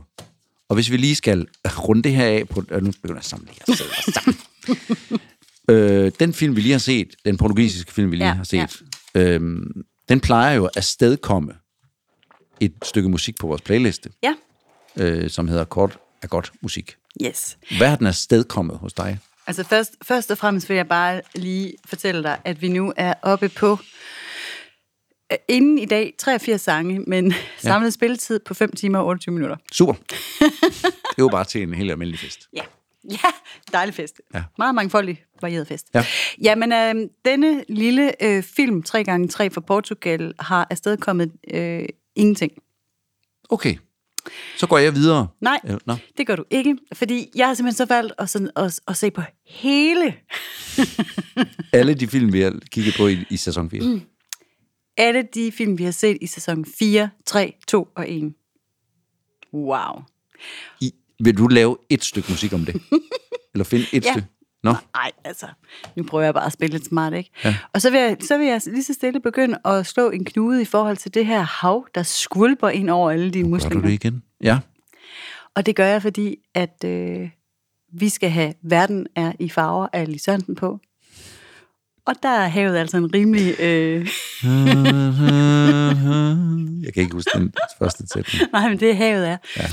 Speaker 1: Og hvis vi lige skal runde det her af på... Øh, nu begynder jeg sammen lige at sidde og sammen. øh, den film, vi lige har set, den portugisiske film, vi lige
Speaker 2: Ja,
Speaker 1: ja, har set, ja. øhm, den plejer jo at stedkomme et stykke musik på vores playliste,
Speaker 2: Ja,
Speaker 1: øh, som hedder Kort er godt musik.
Speaker 2: yes.
Speaker 1: Hvad har den afstedkommet hos dig?
Speaker 2: Altså først, først og fremmest vil jeg bare lige fortælle dig, at vi nu er oppe på øh, inden i dag 83 sange, men samlet spilletid på 5 timer og 28 minutter.
Speaker 1: Super. Det var bare til en helt almindelig fest.
Speaker 2: Ja. Ja, dejlig fest.
Speaker 1: Ja.
Speaker 2: Ja. Meget mangfoldig, varieret fest.
Speaker 1: Ja.
Speaker 2: Jamen, øh, denne lille øh, film, 3x3 fra Portugal, har afstedkommet øh, ingenting.
Speaker 1: Okay. Så går jeg videre.
Speaker 2: Nej,
Speaker 1: Øh, Nå.
Speaker 2: det gør du ikke, fordi jeg har simpelthen så valgt at, sådan, at, at se på hele,
Speaker 1: Alle de film, vi har kigget på i, i sæson 4. Mm.
Speaker 2: alle de film, vi har set i sæson 4, 3, 2 og 1. Wow.
Speaker 1: I, vil du lave et stykke musik om det? Eller finde et
Speaker 2: Ja.
Speaker 1: stykke? Nå,
Speaker 2: Ej, altså, nu prøver jeg bare at spille lidt smart, ikke? Ja. Og så vil, jeg, så vil jeg lige så stille begynde at slå en knude i forhold til det her hav, der skvulper ind over alle dine
Speaker 1: gør du
Speaker 2: muslinger.
Speaker 1: det igen? Ja.
Speaker 2: Og det gør jeg, fordi at øh, vi skal have Verden er i farver af Alice Sørensen på. Og der er havet altså en rimelig... Øh,
Speaker 1: Jeg kan ikke huske den første sætning.
Speaker 2: nej, men det er havet er. Ja.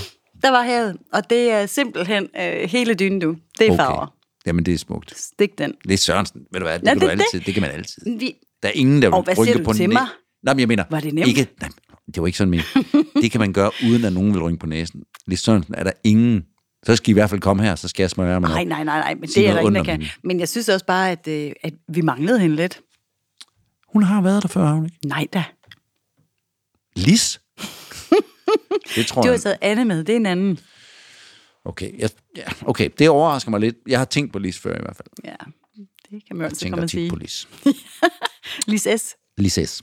Speaker 2: Der var havet, og det er simpelthen øh, hele dynen, du. Det er okay. farver.
Speaker 1: Jamen, det er smukt.
Speaker 2: Stik den.
Speaker 1: Det er Sørensen, ved du hvad? Det,
Speaker 2: Nå,
Speaker 1: kan, du
Speaker 2: det er det.
Speaker 1: altid. Det. kan man altid.
Speaker 2: Vi,
Speaker 1: Der er ingen, der vil
Speaker 2: Og hvad siger
Speaker 1: rynke
Speaker 2: du
Speaker 1: på
Speaker 2: til
Speaker 1: næ-
Speaker 2: mig?
Speaker 1: Nej, men jeg mener,
Speaker 2: Var det nemt?
Speaker 1: Ikke, nej, det var ikke sådan, men det kan man gøre, uden at nogen vil rynke på næsen. Lidt Sørensen er der ingen. Så skal I i hvert fald komme her, så skal jeg smøre jer med
Speaker 2: nej,
Speaker 1: noget.
Speaker 2: nej, nej, nej, men
Speaker 1: Sig
Speaker 2: det er der
Speaker 1: noget
Speaker 2: ingen, der
Speaker 1: ondt om
Speaker 2: kan.
Speaker 1: hende.
Speaker 2: Men jeg synes også bare, at, øh, at vi manglede hende lidt.
Speaker 1: Hun har været der før, har hun ikke?
Speaker 2: Nej da.
Speaker 1: Lis? det tror
Speaker 2: Du har
Speaker 1: jeg.
Speaker 2: taget altså Anne med, det er en anden.
Speaker 1: Okay, jeg, ja, okay, det overrasker mig lidt. Jeg har tænkt på Lis før i hvert fald.
Speaker 2: Ja, det kan man jo
Speaker 1: Jeg
Speaker 2: altid komme
Speaker 1: tænker
Speaker 2: og
Speaker 1: tit
Speaker 2: sige.
Speaker 1: på Lis.
Speaker 2: Lis S.
Speaker 1: Lis S.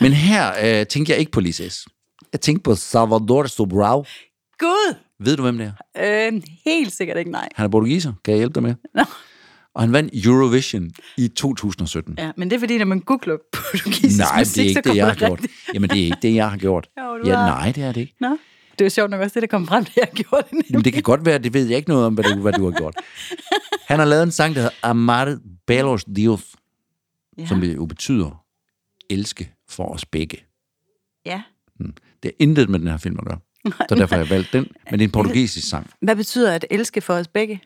Speaker 1: Men her øh, tænker jeg ikke på Lis S. Jeg tænker på Salvador Sobral.
Speaker 2: Gud!
Speaker 1: Ved du, hvem det er?
Speaker 2: Øh, helt sikkert ikke nej.
Speaker 1: Han er portugiser. Kan jeg hjælpe dig med?
Speaker 2: Nå.
Speaker 1: Og han vandt Eurovision i 2017.
Speaker 2: Ja, men det er fordi, når man googler portugisisk
Speaker 1: Nej, det
Speaker 2: musik,
Speaker 1: er
Speaker 2: så
Speaker 1: ikke det,
Speaker 2: kommer
Speaker 1: jeg har
Speaker 2: der
Speaker 1: gjort.
Speaker 2: rigtig-
Speaker 1: Jamen, det er ikke det, jeg har gjort.
Speaker 2: Jo, du
Speaker 1: ja,
Speaker 2: har.
Speaker 1: nej, det er det ikke.
Speaker 2: Nå, det er jo sjovt nok også det, der kom frem, da jeg gjorde det.
Speaker 1: Men det kan godt være, det ved jeg ikke noget om, hvad du, hvad du har gjort. Han har lavet en sang, der hedder Amar Belos Dios,
Speaker 2: Ja.
Speaker 1: som jo betyder elske for os begge.
Speaker 2: ja.
Speaker 1: Det er intet med den her film at gøre. Så derfor har jeg valgt den, men det er en portugisisk sang.
Speaker 2: Hvad betyder at elske for os begge?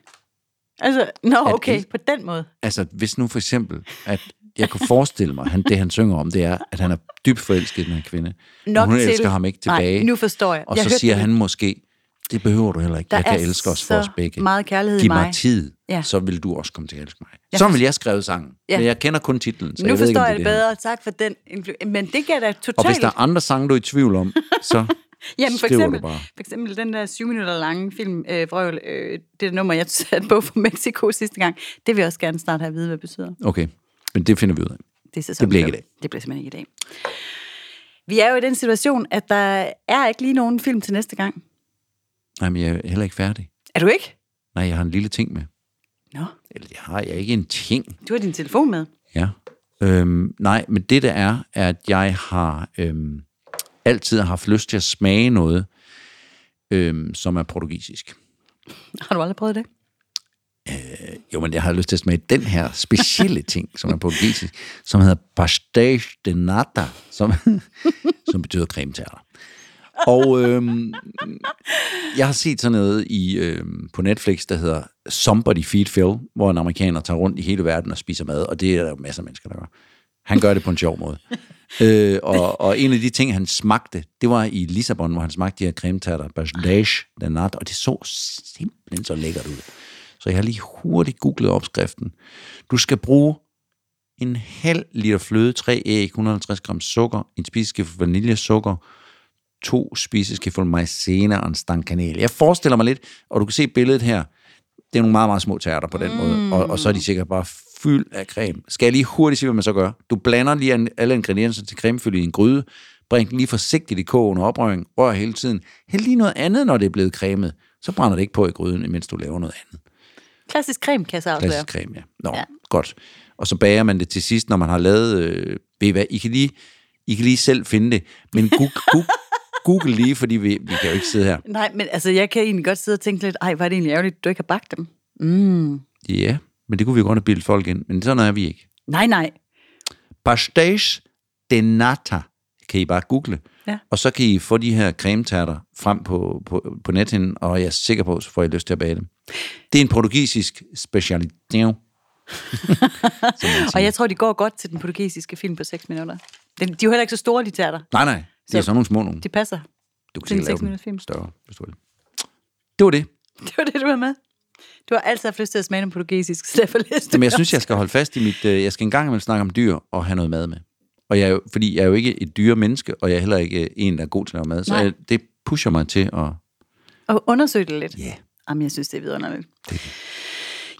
Speaker 2: Altså, nå
Speaker 1: At
Speaker 2: okay,
Speaker 1: elske-
Speaker 2: på den måde.
Speaker 1: altså, hvis nu for eksempel, at jeg kunne forestille mig, han, det han synger om, det er, at han er dybt forelsket i den her kvinde. men
Speaker 2: Nok
Speaker 1: hun
Speaker 2: til-
Speaker 1: elsker ham ikke tilbage.
Speaker 2: Nej, nu forstår jeg.
Speaker 1: Og
Speaker 2: Jeg
Speaker 1: så
Speaker 2: hørte
Speaker 1: siger
Speaker 2: det.
Speaker 1: han måske, det behøver du heller ikke.
Speaker 2: Der
Speaker 1: jeg kan
Speaker 2: er
Speaker 1: elske os for
Speaker 2: så
Speaker 1: os begge.
Speaker 2: meget kærlighed i
Speaker 1: Giv mig.
Speaker 2: mig."
Speaker 1: tid,
Speaker 2: Ja.
Speaker 1: så vil du også komme til at elske mig. Sådan vil jeg skrive sangen.
Speaker 2: Ja.
Speaker 1: Men jeg kender kun titlen, så
Speaker 2: nu
Speaker 1: jeg ved ikke,
Speaker 2: forstår
Speaker 1: om
Speaker 2: jeg
Speaker 1: det,
Speaker 2: det
Speaker 1: er
Speaker 2: bedre. Tak for den. influ- Men det kan da
Speaker 1: Og hvis
Speaker 2: totalt...
Speaker 1: der er andre sange, du er i tvivl om, så
Speaker 2: Jamen, for
Speaker 1: skriver
Speaker 2: eksempel,
Speaker 1: du bare.
Speaker 2: for eksempel den der syv minutter lange film, øh, Vrøvl, øh, det nummer, jeg satte på for Mexico sidste gang, det vil jeg også gerne snart have at vide, hvad det betyder.
Speaker 1: Okay, men det finder vi ud af.
Speaker 2: Det, er sæson
Speaker 1: Det bliver ikke i
Speaker 2: fem.
Speaker 1: dag.
Speaker 2: Det bliver simpelthen ikke i dag. Vi er jo i den situation, at der er ikke lige nogen film til næste gang.
Speaker 1: Nej, men jeg er heller ikke færdig.
Speaker 2: Er du ikke?
Speaker 1: Nej, jeg har en lille ting med.
Speaker 2: Nå,
Speaker 1: Eller jeg har jeg har ikke en ting.
Speaker 2: du har din telefon med.
Speaker 1: Ja. Øhm, nej, men det der er, er, at jeg har øhm, altid har haft lyst til at smage noget, øhm, som er portugisisk.
Speaker 2: Har du aldrig prøvet det?
Speaker 1: Jo, men jeg har lyst til at smage den her specielle ting, som er portugisisk, som hedder pastéis de nata, som, som betyder creme tærter. Og øhm, jeg har set sådan noget i, øhm, på Netflix, der hedder Somebody Feed Phil, hvor en amerikaner tager rundt i hele verden og spiser mad, og det er der jo masser af mennesker, der gør. Han gør det på en sjov måde. øh, og, og en af de ting, han smagte, det var i Lissabon, hvor han smagte de her cremetatter, Bachelage de Nat, og det så simpelthen så lækkert ud. Så jeg har lige hurtigt googlet opskriften. Du skal bruge en halv liter fløde, 3 æg, 150 gram sukker, en spiseskefuld vaniljesukker, to spiseskefulde maizena og en stang kanel. Jeg forestiller mig lidt, og du kan se billedet her, det er nogle meget, meget små tærter på den mm. måde, og, og så er de sikkert bare fyldt af creme. Skal jeg lige hurtigt sige, hvad man så gør? Du blander lige an- alle ingredienserne til cremefylde i en gryde, bring den lige forsigtigt i kog under oprøring, rør hele tiden. Hæld lige noget andet, når det er blevet cremet, så brænder det ikke på i gryden, imens du laver noget andet.
Speaker 2: Klassisk creme, kan jeg så afsløre.
Speaker 1: Klassisk creme, ja. Nå, ja. godt. Og så bager man det til sidst, når man har lavet... Øh, ved I hvad? I kan, lige, I kan lige selv finde det, men Google, Google, Google lige, fordi vi, vi kan jo ikke sidde her.
Speaker 2: Nej, men altså, jeg kan egentlig godt sidde og tænke lidt, ej, hvor er det egentlig ærgerligt, du ikke har bagt dem. Mm.
Speaker 1: Ja, men det kunne vi jo godt have bildet folk ind, men sådan er vi ikke.
Speaker 2: Nej, nej.
Speaker 1: Pastage de nata kan I bare google.
Speaker 2: Ja.
Speaker 1: Og så kan I få de her cremetærter frem på, på, på nethinden, og jeg er sikker på, så får I lyst til at bage dem. Det er en portugisisk specialitet.
Speaker 2: og jeg tror, de går godt til den portugisiske film på 6 minutter. Den, de er jo heller ikke så store, de teater.
Speaker 1: Nej, nej. Det er
Speaker 2: Så-
Speaker 1: sådan nogle små nogle.
Speaker 2: De passer.
Speaker 1: Du kan
Speaker 2: det er en
Speaker 1: sikkert lave
Speaker 2: seks-minutters
Speaker 1: dem
Speaker 2: film.
Speaker 1: større, hvis du vil. Det var det.
Speaker 2: Det var det, du var med. Du har altid haft lyst til at smage den portugisisk, så derfor læste du
Speaker 1: Men jeg synes, jeg skal holde fast i mit... øh, Jeg skal engang imellem snakke om dyr og have noget mad med. Og jeg er jo, fordi jeg er jo ikke et dyre menneske, og jeg er heller ikke øh, en, der er god til at lave mad. Så
Speaker 2: Nej.
Speaker 1: jeg, det pusher mig til at...
Speaker 2: Og undersøg det lidt.
Speaker 1: Ja.
Speaker 2: Jamen, jeg synes, det er vidunderligt.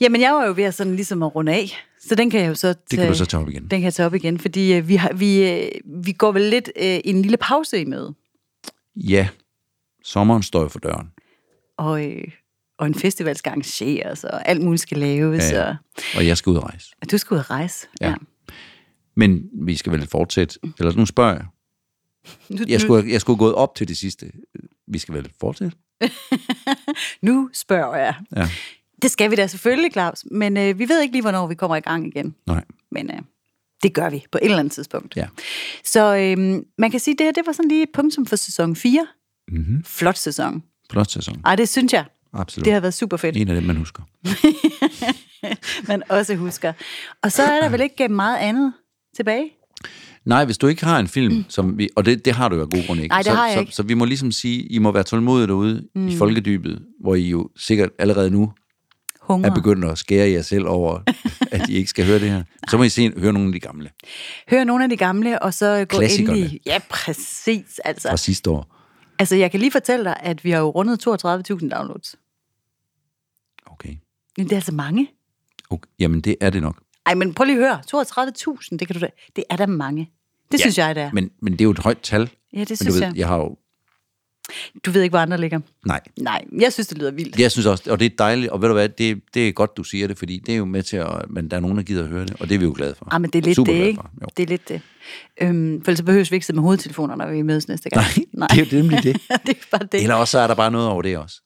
Speaker 2: Jamen, jeg var jo ved at sådan ligesom at runde af, så den kan jeg jo så tage,
Speaker 1: kan du så tage op igen.
Speaker 2: Den kan jeg tage op igen, fordi øh, vi, har, vi, øh, vi går vel lidt øh, en lille pause i møde,
Speaker 1: Ja, sommeren står jo for døren.
Speaker 2: og, øh, og en festival skal arrangeres, og alt muligt skal laves,
Speaker 1: Ja,
Speaker 2: ja,
Speaker 1: ja.
Speaker 2: ja.
Speaker 1: Og jeg skal ud og rejse.
Speaker 2: og du skal ud og rejse.
Speaker 1: Ja. Men vi skal vel fortsætte. Eller nu spørger jeg.
Speaker 2: Nu,
Speaker 1: Jeg skulle, jeg skulle have gået op til det sidste. Vi skal vel fortsætte?
Speaker 2: nu, nu spørger jeg.
Speaker 1: Ja.
Speaker 2: Det skal vi da selvfølgelig, Claus, men øh, vi ved ikke lige, hvornår vi kommer i gang igen.
Speaker 1: Nej.
Speaker 2: Men øh, det gør vi på et eller andet tidspunkt.
Speaker 1: Ja.
Speaker 2: Så øh, man kan sige, at det her det var sådan lige et punktum for sæson 4.
Speaker 1: Mhm.
Speaker 2: Mm-hmm. Flot sæson.
Speaker 1: Flot sæson.
Speaker 2: Ej, det synes jeg.
Speaker 1: Absolut.
Speaker 2: Det har været super fedt,
Speaker 1: En af dem, man husker.
Speaker 2: man også husker. Og så er der vel ikke øh, meget andet tilbage?
Speaker 1: Nej, hvis du ikke har en film, mm. som vi, og det, det har du jo af gode grunde ikke.
Speaker 2: Nej, det
Speaker 1: så,
Speaker 2: har jeg
Speaker 1: så,
Speaker 2: ikke.
Speaker 1: Så, vi må ligesom sige, I må være tålmodige derude mm. i folkedybet, hvor I jo sikkert allerede nu
Speaker 2: Hunger.
Speaker 1: er begyndt at skære jer selv over, at I ikke skal høre det her. Så må I se, høre nogle af de gamle
Speaker 2: Hør nogle af de gamle, og så øh, gå
Speaker 1: Klassikerne.
Speaker 2: endelig... Ja, præcis.
Speaker 1: fra
Speaker 2: Altså.
Speaker 1: sidste år.
Speaker 2: altså, jeg kan lige fortælle dig, at vi har jo rundet 32.000 downloads.
Speaker 1: Okay.
Speaker 2: Men det er altså mange.
Speaker 1: okay. Jamen, det er det nok.
Speaker 2: Ej, men prøv lige at høre. 32.000, det kan du da... Det er da mange. Det ja, synes jeg, det er. Men,
Speaker 1: Men, men det er jo et højt tal.
Speaker 2: ja, det
Speaker 1: Men du
Speaker 2: synes
Speaker 1: ved,
Speaker 2: jeg.
Speaker 1: jeg har jo...
Speaker 2: Du ved ikke, hvor andre ligger.
Speaker 1: Nej.
Speaker 2: Nej, jeg synes, det lyder vildt.
Speaker 1: Jeg synes også, og det er dejligt, og ved du hvad, det, det er godt, du siger det, fordi det er jo med til, at men der er nogen, der gider at høre det, og det er vi jo glade for.
Speaker 2: Ah, men det er lidt
Speaker 1: Super
Speaker 2: det,
Speaker 1: glade
Speaker 2: ikke?
Speaker 1: For. Jo.
Speaker 2: Det er lidt det. Øhm, for ellers så behøver vi ikke sidde med hovedtelefoner, når vi mødes næste gang.
Speaker 1: Nej, det er jo nemlig det.
Speaker 2: det er bare det.
Speaker 1: Eller også så er der bare noget over det også.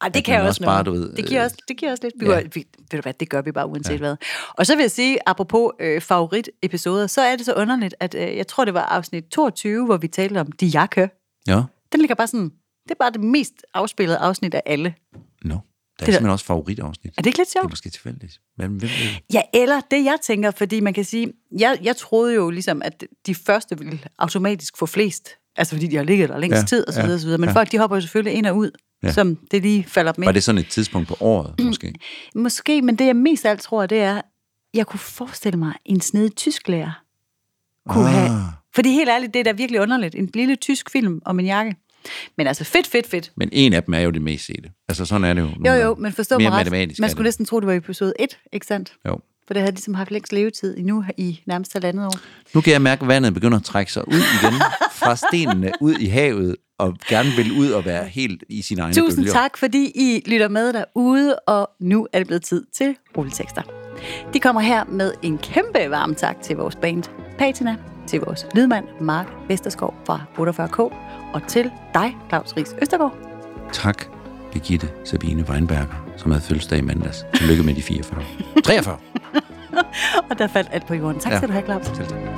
Speaker 2: Ej, det
Speaker 1: at
Speaker 2: kan jeg
Speaker 1: man
Speaker 2: også
Speaker 1: også bare,
Speaker 2: noget.
Speaker 1: du ved,
Speaker 2: det, giver
Speaker 1: øh,
Speaker 2: også, det giver også lidt. Vi,
Speaker 1: ja.
Speaker 2: ja. vi, ved du hvad, det gør vi bare uanset ja. hvad. Og så vil jeg sige, apropos øh, favoritepisoder, så er det så underligt, at øh, jeg tror, det var afsnit 22, hvor vi talte om de jakke.
Speaker 1: Ja.
Speaker 2: Den ligger bare sådan, det er bare det mest afspillede afsnit af alle.
Speaker 1: Nå, no. der er det
Speaker 2: der-
Speaker 1: simpelthen også favoritafsnit.
Speaker 2: Er det ikke lidt
Speaker 1: Det er
Speaker 2: sjovt?
Speaker 1: måske tilfældigt. Men hvem ved? det?
Speaker 2: Ja, eller det jeg tænker, fordi man kan sige, jeg, jeg troede jo ligesom, at de første ville automatisk få flest, altså fordi de har ligget der længst
Speaker 1: Ja,
Speaker 2: ja, tid og så
Speaker 1: ja,
Speaker 2: videre, og så videre. men ja. folk de hopper jo selvfølgelig ind og ud, ja. som det lige falder dem ind.
Speaker 1: Var det sådan et tidspunkt på året, måske?
Speaker 2: Måske, men det jeg mest af alt tror, det er, jeg kunne forestille mig, en snedig tysklærer kunne
Speaker 1: Ah.
Speaker 2: ah. have... Fordi helt ærligt, det er da virkelig underligt. En lille tysk film om en jakke. Men altså, fedt, fedt, fedt.
Speaker 1: Men en af dem er jo det mest sete. Altså, sådan er det jo.
Speaker 2: Jo, jo, men forstå
Speaker 1: Mere
Speaker 2: mig ret.
Speaker 1: matematisk
Speaker 2: Man
Speaker 1: er
Speaker 2: skulle
Speaker 1: det.
Speaker 2: næsten tro, det var i episode 1, ikke sandt?
Speaker 1: Jo.
Speaker 2: For det havde ligesom haft længst levetid endnu i nærmest halvandet år.
Speaker 1: Nu kan jeg mærke, at vandet begynder at trække sig ud igen fra stenene ud i havet, og gerne vil ud og være helt i sin egen
Speaker 2: Tusind tak, fordi I lytter med derude, og nu er det blevet tid til rulletekster. De kommer her med en kæmpe varm tak til vores band Patina, til vores lydmand Mark Vesterskov fra 48K, og til dig, Claus Ries Østergaard.
Speaker 1: Tak, Birgitte Sabine Weinberger, som havde fødselsdag i mandags. Tillykke med de 44. 43!
Speaker 2: Og der faldt alt på jorden. Tak
Speaker 1: Ja.
Speaker 2: skal du have, Claus.
Speaker 1: Selv tak.